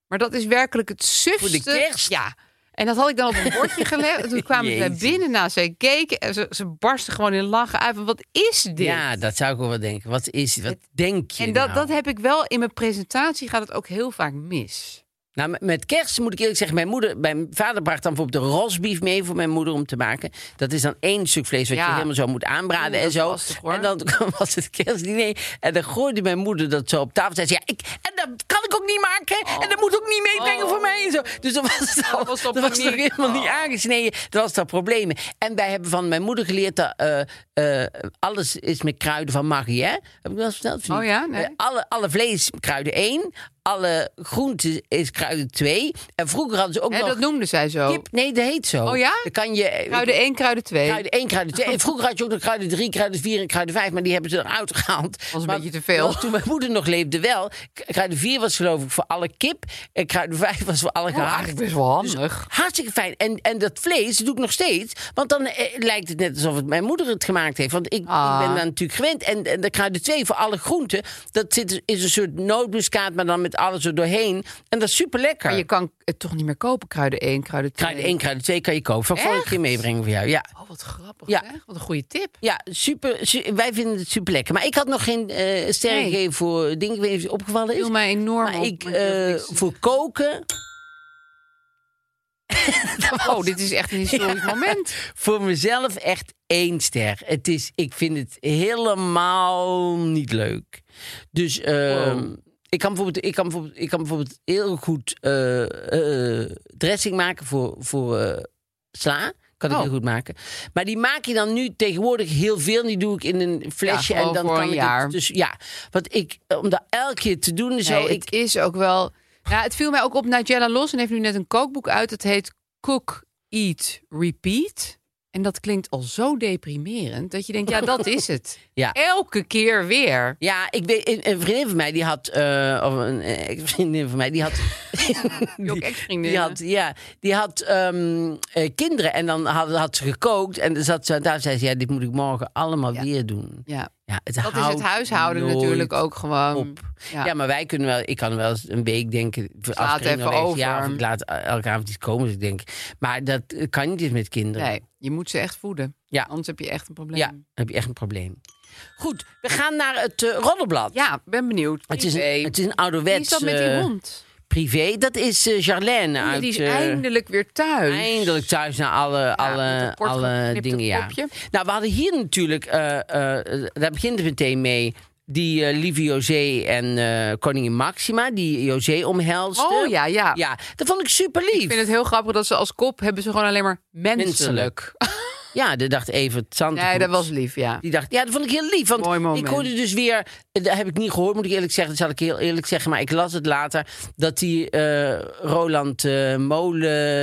[SPEAKER 2] Maar dat is werkelijk het sufste.
[SPEAKER 1] kerst?
[SPEAKER 2] Ja. En dat had ik dan op een
[SPEAKER 1] *laughs*
[SPEAKER 2] bordje gelegd. En toen kwamen ze
[SPEAKER 1] Jezus.
[SPEAKER 2] binnen na ze keken. En ze, ze barsten gewoon in lachen uit. van, Wat is dit?
[SPEAKER 1] Ja, dat zou ik wel wat denken. Wat is het? Wat
[SPEAKER 2] Het-
[SPEAKER 1] denk je
[SPEAKER 2] en dat,
[SPEAKER 1] nou?
[SPEAKER 2] dat heb ik wel in mijn presentatie gaat het ook heel vaak mis.
[SPEAKER 1] Nou, met- met kerst moet ik eerlijk zeggen, mijn, moeder, mijn vader bracht dan bijvoorbeeld de rosbief mee voor mijn moeder om te maken. Dat is dan één stuk vlees wat je
[SPEAKER 2] Ja.
[SPEAKER 1] helemaal zo moet aanbraden
[SPEAKER 2] Oeh,
[SPEAKER 1] en
[SPEAKER 2] dat
[SPEAKER 1] zo.
[SPEAKER 2] is lastig, hoor.
[SPEAKER 1] en dan *laughs* was het kerstdiner en dan gooide mijn moeder dat zo op tafel. Zei ze, ja, ik, en dat kan ik ook niet maken en dat moet ik ook niet meebrengen voor mij en zo. Dus dan was het al,
[SPEAKER 2] Oh. Dat was al
[SPEAKER 1] dat was toch
[SPEAKER 2] paniek.
[SPEAKER 1] helemaal niet aangesneden. Dat was daar problemen. En wij hebben van mijn moeder geleerd dat eh, eh, alles is met kruiden van Marie, hè? Heb ik wel eens verteld? of
[SPEAKER 2] Oh
[SPEAKER 1] niet?
[SPEAKER 2] ja? Nee.
[SPEAKER 1] Eh, alle, alle vlees kruiden één. Alle groenten is kruiden twee. En vroeger hadden ze ook
[SPEAKER 2] Hè,
[SPEAKER 1] nog
[SPEAKER 2] dat noemde zij zo.
[SPEAKER 1] kip. Nee, dat heet zo.
[SPEAKER 2] Oh ja?
[SPEAKER 1] Dan kan je... eh,
[SPEAKER 2] Kruiden Oh. 1, kruiden 2.
[SPEAKER 1] Kruiden één, kruiden twee. En vroeger had je ook nog kruiden drie, kruiden vier en kruiden vijf. Maar die hebben ze eruit gehaald.
[SPEAKER 2] was een
[SPEAKER 1] Maar
[SPEAKER 2] beetje te veel.
[SPEAKER 1] Toen mijn moeder nog leefde wel. k- Kruiden vier was geloof ik voor alle kip. En kruiden vijf was voor
[SPEAKER 2] Oh,
[SPEAKER 1] alle gehaakt.
[SPEAKER 2] eigenlijk best wel
[SPEAKER 1] Dus
[SPEAKER 2] handig.
[SPEAKER 1] Hartstikke fijn. En, en dat vlees doe ik nog steeds. Want dan eh, lijkt het net alsof het mijn moeder het gemaakt heeft. Want ik,
[SPEAKER 2] Ah.
[SPEAKER 1] ik ben daar natuurlijk gewend. En, en de kruiden twee voor alle groenten. Dat zit, is een soort nootmuskaat, maar dan met alles er doorheen. En dat is super lekker.
[SPEAKER 2] Maar je kan het toch niet meer kopen, kruiden 1, kruiden 2.
[SPEAKER 1] Kruiden één, kruiden twee kan je kopen. Van vorige
[SPEAKER 2] Echt?
[SPEAKER 1] keer meebrengen voor jou. Ja.
[SPEAKER 2] Oh, wat grappig
[SPEAKER 1] Ja.
[SPEAKER 2] zeg. Wat een goede tip.
[SPEAKER 1] Ja, super, su- wij vinden het super lekker. Maar ik had nog geen eh sterren
[SPEAKER 2] Nee.
[SPEAKER 1] gegeven voor dingen. Ik weet niet of het opgevallen is.
[SPEAKER 2] Viel mij enorm
[SPEAKER 1] maar
[SPEAKER 2] op,
[SPEAKER 1] ik,
[SPEAKER 2] maar ik durf
[SPEAKER 1] eh,
[SPEAKER 2] niks te
[SPEAKER 1] voor koken,
[SPEAKER 2] Oh, dit is echt een historisch
[SPEAKER 1] *laughs*
[SPEAKER 2] moment.
[SPEAKER 1] voor mezelf echt één ster. Het is, ik vind het helemaal niet leuk. Dus ehm, ik, kan bijvoorbeeld, ik, kan bijvoorbeeld, ik kan bijvoorbeeld heel goed eh, eh, dressing maken voor, voor eh, sla. Kan ik
[SPEAKER 2] Oh.
[SPEAKER 1] heel goed maken. Maar die maak je dan nu tegenwoordig heel veel. Die doe ik in een flesje. en
[SPEAKER 2] gewoon
[SPEAKER 1] dan
[SPEAKER 2] voor
[SPEAKER 1] kan
[SPEAKER 2] een
[SPEAKER 1] ik
[SPEAKER 2] jaar.
[SPEAKER 1] Het, dus ja, want ik, om dat elke keer te doen en zo.
[SPEAKER 2] Nee,
[SPEAKER 1] ik,
[SPEAKER 2] het is ook wel... Ja, het viel mij ook op. Nigella Lawson heeft nu net een kookboek uit. Het heet Cook, Eat, Repeat. En dat klinkt al zo deprimerend dat je denkt, ja, dat is het.
[SPEAKER 1] *laughs* Ja.
[SPEAKER 2] Elke keer weer.
[SPEAKER 1] Ja, ik weet, een, een vriendin van mij die had, eh, of een eh, ex-vriendin van mij die had,
[SPEAKER 2] *laughs*
[SPEAKER 1] *laughs* die,
[SPEAKER 2] ook ex-vriendinnen.
[SPEAKER 1] die had, ja, die had ehm, eh, kinderen en dan had, had ze gekookt en dan zat ze aan tafel en zei ze, ja, dit moet ik morgen allemaal weer doen.
[SPEAKER 2] Ja.
[SPEAKER 1] Ja, het
[SPEAKER 2] Dat is het
[SPEAKER 1] houdt
[SPEAKER 2] huishouden
[SPEAKER 1] nooit
[SPEAKER 2] natuurlijk ook gewoon.
[SPEAKER 1] op. Ja.
[SPEAKER 2] Ja.
[SPEAKER 1] maar wij kunnen wel, ik kan wel eens een week denken,
[SPEAKER 2] het even over.
[SPEAKER 1] ja, of ik laat elke avond iets komen, dus ik denk, maar dat kan niet eens met kinderen.
[SPEAKER 2] Nee, je moet ze echt voeden.
[SPEAKER 1] Ja.
[SPEAKER 2] Anders heb je echt een probleem.
[SPEAKER 1] Ja, dan heb je echt een probleem. Goed, we gaan naar het eh, roddelblad.
[SPEAKER 2] Ja, ben benieuwd.
[SPEAKER 1] Het is,
[SPEAKER 2] Privé.
[SPEAKER 1] een, het is een
[SPEAKER 2] Wie
[SPEAKER 1] ouderwets...
[SPEAKER 2] is dat met die
[SPEAKER 1] eh,
[SPEAKER 2] hond?
[SPEAKER 1] privé. Dat is eh Charlène
[SPEAKER 2] Ja,
[SPEAKER 1] uit...
[SPEAKER 2] die is
[SPEAKER 1] eh,
[SPEAKER 2] eindelijk weer thuis.
[SPEAKER 1] eindelijk thuis naar alle,
[SPEAKER 2] met
[SPEAKER 1] alle,
[SPEAKER 2] dat kort
[SPEAKER 1] alle
[SPEAKER 2] geknipte
[SPEAKER 1] dingen. Ja.
[SPEAKER 2] kopje.
[SPEAKER 1] Nou, we hadden hier natuurlijk... eh, eh, daar begint het meteen mee... Die eh, lieve José en eh koningin Maxima, die José omhelste.
[SPEAKER 2] Oh ja, ja.
[SPEAKER 1] Ja, dat vond ik super lief.
[SPEAKER 2] Ik vind het heel grappig dat ze als kop hebben ze gewoon alleen maar menselijk.
[SPEAKER 1] Menselijk. Ja, dat dacht even Santegoed.
[SPEAKER 2] Nee, dat was lief, ja.
[SPEAKER 1] Die dacht, ja, dat vond ik heel lief. Want
[SPEAKER 2] Mooi moment.
[SPEAKER 1] ik hoorde dus weer, eh, dat heb ik niet gehoord, moet ik eerlijk zeggen. Dat zal ik heel eerlijk zeggen. Maar ik las het later, dat die eh, Roland eh,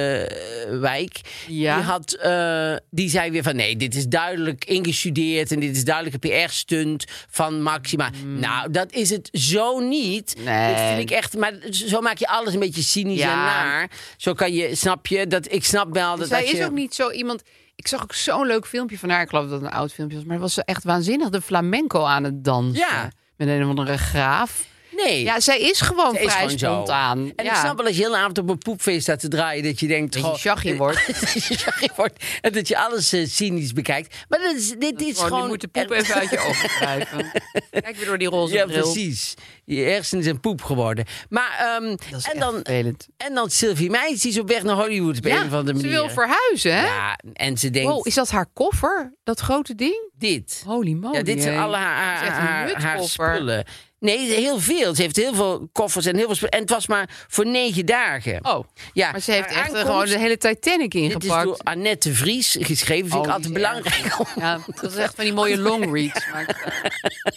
[SPEAKER 1] Molenwijk,
[SPEAKER 2] Ja.
[SPEAKER 1] die, had, eh, die zei weer van... nee, dit is duidelijk ingestudeerd en dit is duidelijk een PR-stunt van Maxima. Nou, dat is het zo niet.
[SPEAKER 2] Hmm. Nee.
[SPEAKER 1] Dit vind ik echt... Maar zo maak je alles een beetje cynisch
[SPEAKER 2] Ja.
[SPEAKER 1] en naar. Zo kan je, snap je? Dat, ik snap wel dat
[SPEAKER 2] Zij
[SPEAKER 1] als
[SPEAKER 2] is
[SPEAKER 1] je...
[SPEAKER 2] ook niet zo iemand. Ik zag ook zo'n leuk filmpje van haar. Ik geloof dat het een oud filmpje was. Maar was ze echt waanzinnig de flamenco aan het dansen.
[SPEAKER 1] Ja.
[SPEAKER 2] Met een of andere graaf.
[SPEAKER 1] Nee.
[SPEAKER 2] Ja, zij is gewoon
[SPEAKER 1] Ze is
[SPEAKER 2] vrij
[SPEAKER 1] gewoon zo.
[SPEAKER 2] spontaan.
[SPEAKER 1] En ik
[SPEAKER 2] Ja.
[SPEAKER 1] snap wel als je heel avond op een poepfeest staat te draaien... dat je denkt...
[SPEAKER 2] Dat je
[SPEAKER 1] goh,
[SPEAKER 2] sjaggie wordt.
[SPEAKER 1] *laughs* dat je sjaggie wordt. En dat je alles eh, cynisch bekijkt. Maar dat is, dit is
[SPEAKER 2] Gewoon,
[SPEAKER 1] gewoon...
[SPEAKER 2] je moet de poep even
[SPEAKER 1] *laughs*
[SPEAKER 2] uit je ogen wrijven. Kijk weer door die roze
[SPEAKER 1] Ja,
[SPEAKER 2] bril.
[SPEAKER 1] precies. Je hersenen zijn poep geworden. Maar, ehm,
[SPEAKER 2] Dat is
[SPEAKER 1] en,
[SPEAKER 2] echt
[SPEAKER 1] dan,
[SPEAKER 2] vervelend.
[SPEAKER 1] en dan Sylvie Meijs, die is op weg naar Hollywood op een of andere
[SPEAKER 2] ze
[SPEAKER 1] manier.
[SPEAKER 2] wil verhuizen, hè?
[SPEAKER 1] Ja, en ze denkt,
[SPEAKER 2] Wow, Oh, is dat haar koffer? Dat grote ding?
[SPEAKER 1] dit.
[SPEAKER 2] Holy moly.
[SPEAKER 1] Ja, dit zijn
[SPEAKER 2] hé.
[SPEAKER 1] alle haar,
[SPEAKER 2] Dat is
[SPEAKER 1] haar,
[SPEAKER 2] echt een
[SPEAKER 1] haar, haar
[SPEAKER 2] jutkoffer.
[SPEAKER 1] spullen. Nee, heel veel. Ze heeft heel veel koffers en heel veel spullen. En het was maar voor negen dagen.
[SPEAKER 2] Oh,
[SPEAKER 1] Ja,
[SPEAKER 2] maar ze heeft
[SPEAKER 1] haar
[SPEAKER 2] echt eh,
[SPEAKER 1] aankomst-
[SPEAKER 2] gewoon de hele Titanic
[SPEAKER 1] Dit is door
[SPEAKER 2] ingepakt.
[SPEAKER 1] Annette Vries geschreven. Vind ik
[SPEAKER 2] Oh,
[SPEAKER 1] altijd
[SPEAKER 2] die is
[SPEAKER 1] belangrijk. om- *laughs*
[SPEAKER 2] Ja, dat is echt van die mooie long reads. Maar, eh,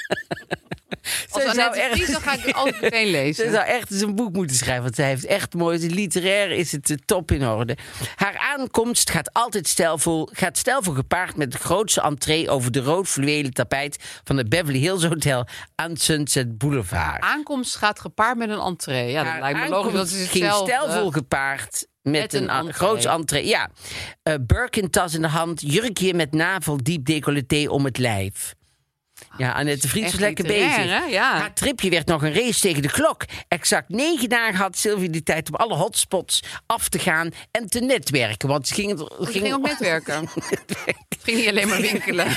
[SPEAKER 2] als
[SPEAKER 1] zou
[SPEAKER 2] Annette
[SPEAKER 1] ergens-
[SPEAKER 2] Vries, dan ga ik het altijd meteen lezen.
[SPEAKER 1] Ze zou echt eens een boek moeten schrijven. Want zij heeft echt mooi. Literair is het de top in orde. Haar aankomst gaat altijd stijlvol, gaat stijlvol gepaard met de grootste entree over de rood fluwelen tapijt van het Beverly Hills Hotel aan Sunset Boulevard.
[SPEAKER 2] Aankomst gaat gepaard met een entree. Ja, dat
[SPEAKER 1] Haar
[SPEAKER 2] lijkt me logisch.
[SPEAKER 1] aankomst
[SPEAKER 2] Dat eh, is
[SPEAKER 1] ging
[SPEAKER 2] hetzelfde.
[SPEAKER 1] stijlvol gepaard met,
[SPEAKER 2] Met
[SPEAKER 1] een,
[SPEAKER 2] een
[SPEAKER 1] an-
[SPEAKER 2] entree.
[SPEAKER 1] groots entree. Ja. Eh Birkin-tas in de hand, jurkje met navel, diep decolleté om het lijf. Ja, Annette Vries
[SPEAKER 2] Ah, echt
[SPEAKER 1] was lekker
[SPEAKER 2] literair,
[SPEAKER 1] bezig.
[SPEAKER 2] hè? Ja.
[SPEAKER 1] Haar tripje werd nog een race tegen de klok. Exact negen dagen had Sylvie de tijd om alle hotspots af te gaan en te netwerken. Want ze ging, het-
[SPEAKER 2] Ze ging ook
[SPEAKER 1] *laughs*
[SPEAKER 2] netwerken. Ze ging niet alleen maar winkelen.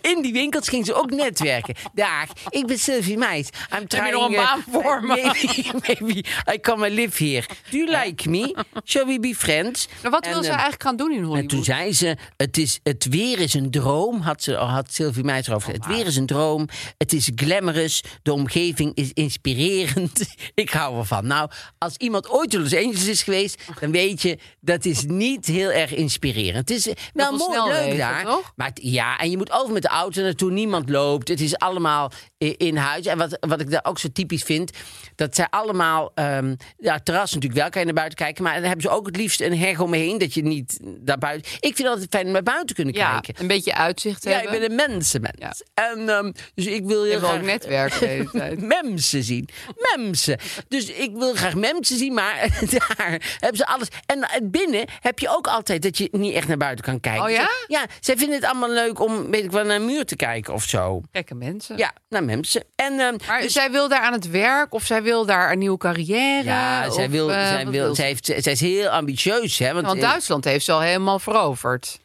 [SPEAKER 1] In die winkels ging ze ook netwerken. Dag, ik ben Sylvie Meijs. I'm trying,
[SPEAKER 2] nog een
[SPEAKER 1] eh,
[SPEAKER 2] baan voor me?
[SPEAKER 1] Maybe, maybe I come and live here. Do you like me? Shall we be friends?
[SPEAKER 2] Maar wat
[SPEAKER 1] En,
[SPEAKER 2] wil ze
[SPEAKER 1] eh,
[SPEAKER 2] eigenlijk gaan doen in Hollywood?
[SPEAKER 1] En toen zei ze, het, is, het weer is een droom, had, ze, had Sylvie Meijs erover. gezegd. het weer is een droom, het is glamorous, de omgeving is inspirerend. *laughs* Ik hou ervan. Nou, als iemand ooit in Los Angeles is geweest, dan weet je, dat is niet heel erg inspirerend. Het is eh, wel
[SPEAKER 2] veel
[SPEAKER 1] mooi
[SPEAKER 2] snelwegen,
[SPEAKER 1] leuk daar.
[SPEAKER 2] toch?
[SPEAKER 1] Maar het- ja, en je moet over met de auto naartoe. Niemand loopt. Het is allemaal i- in huis. En wat, wat ik daar ook zo typisch vind, dat zij allemaal... ehm ja, het terras natuurlijk wel, kan je naar buiten kijken. Maar dan hebben ze ook het liefst een heg omheen, dat je niet daar buiten... Ik vind het altijd fijn om naar buiten te kunnen
[SPEAKER 2] ja,
[SPEAKER 1] kijken.
[SPEAKER 2] een beetje uitzicht
[SPEAKER 1] Ja, ik
[SPEAKER 2] hebben.
[SPEAKER 1] ben een mensenmens. En, ehm, dus ik wil heel
[SPEAKER 2] Je wil ook
[SPEAKER 1] graag-
[SPEAKER 2] netwerken de
[SPEAKER 1] *laughs*
[SPEAKER 2] hele tijd.
[SPEAKER 1] Memsen zien. Memsen. Dus ik wil graag memsen zien, maar *laughs* daar hebben ze alles. En eh, binnen heb je ook altijd dat je niet echt naar buiten kan kijken.
[SPEAKER 2] Oh ja?
[SPEAKER 1] Ze- Ja, zij vinden het allemaal leuk om, weet ik wel, naar een muur te kijken of zo.
[SPEAKER 2] Gekke mensen.
[SPEAKER 1] Ja, naar memsen. En, ehm,
[SPEAKER 2] Maar
[SPEAKER 1] dus-
[SPEAKER 2] zij wil daar aan het werk of zij wil daar een nieuwe carrière.
[SPEAKER 1] ja, zij,
[SPEAKER 2] of,
[SPEAKER 1] wil,
[SPEAKER 2] eh,
[SPEAKER 1] zij,
[SPEAKER 2] wat
[SPEAKER 1] wil,
[SPEAKER 2] ze?
[SPEAKER 1] zij, heeft, zij is heel ambitieus. Hè, want,
[SPEAKER 2] Want
[SPEAKER 1] eh,
[SPEAKER 2] Duitsland heeft ze al helemaal veroverd.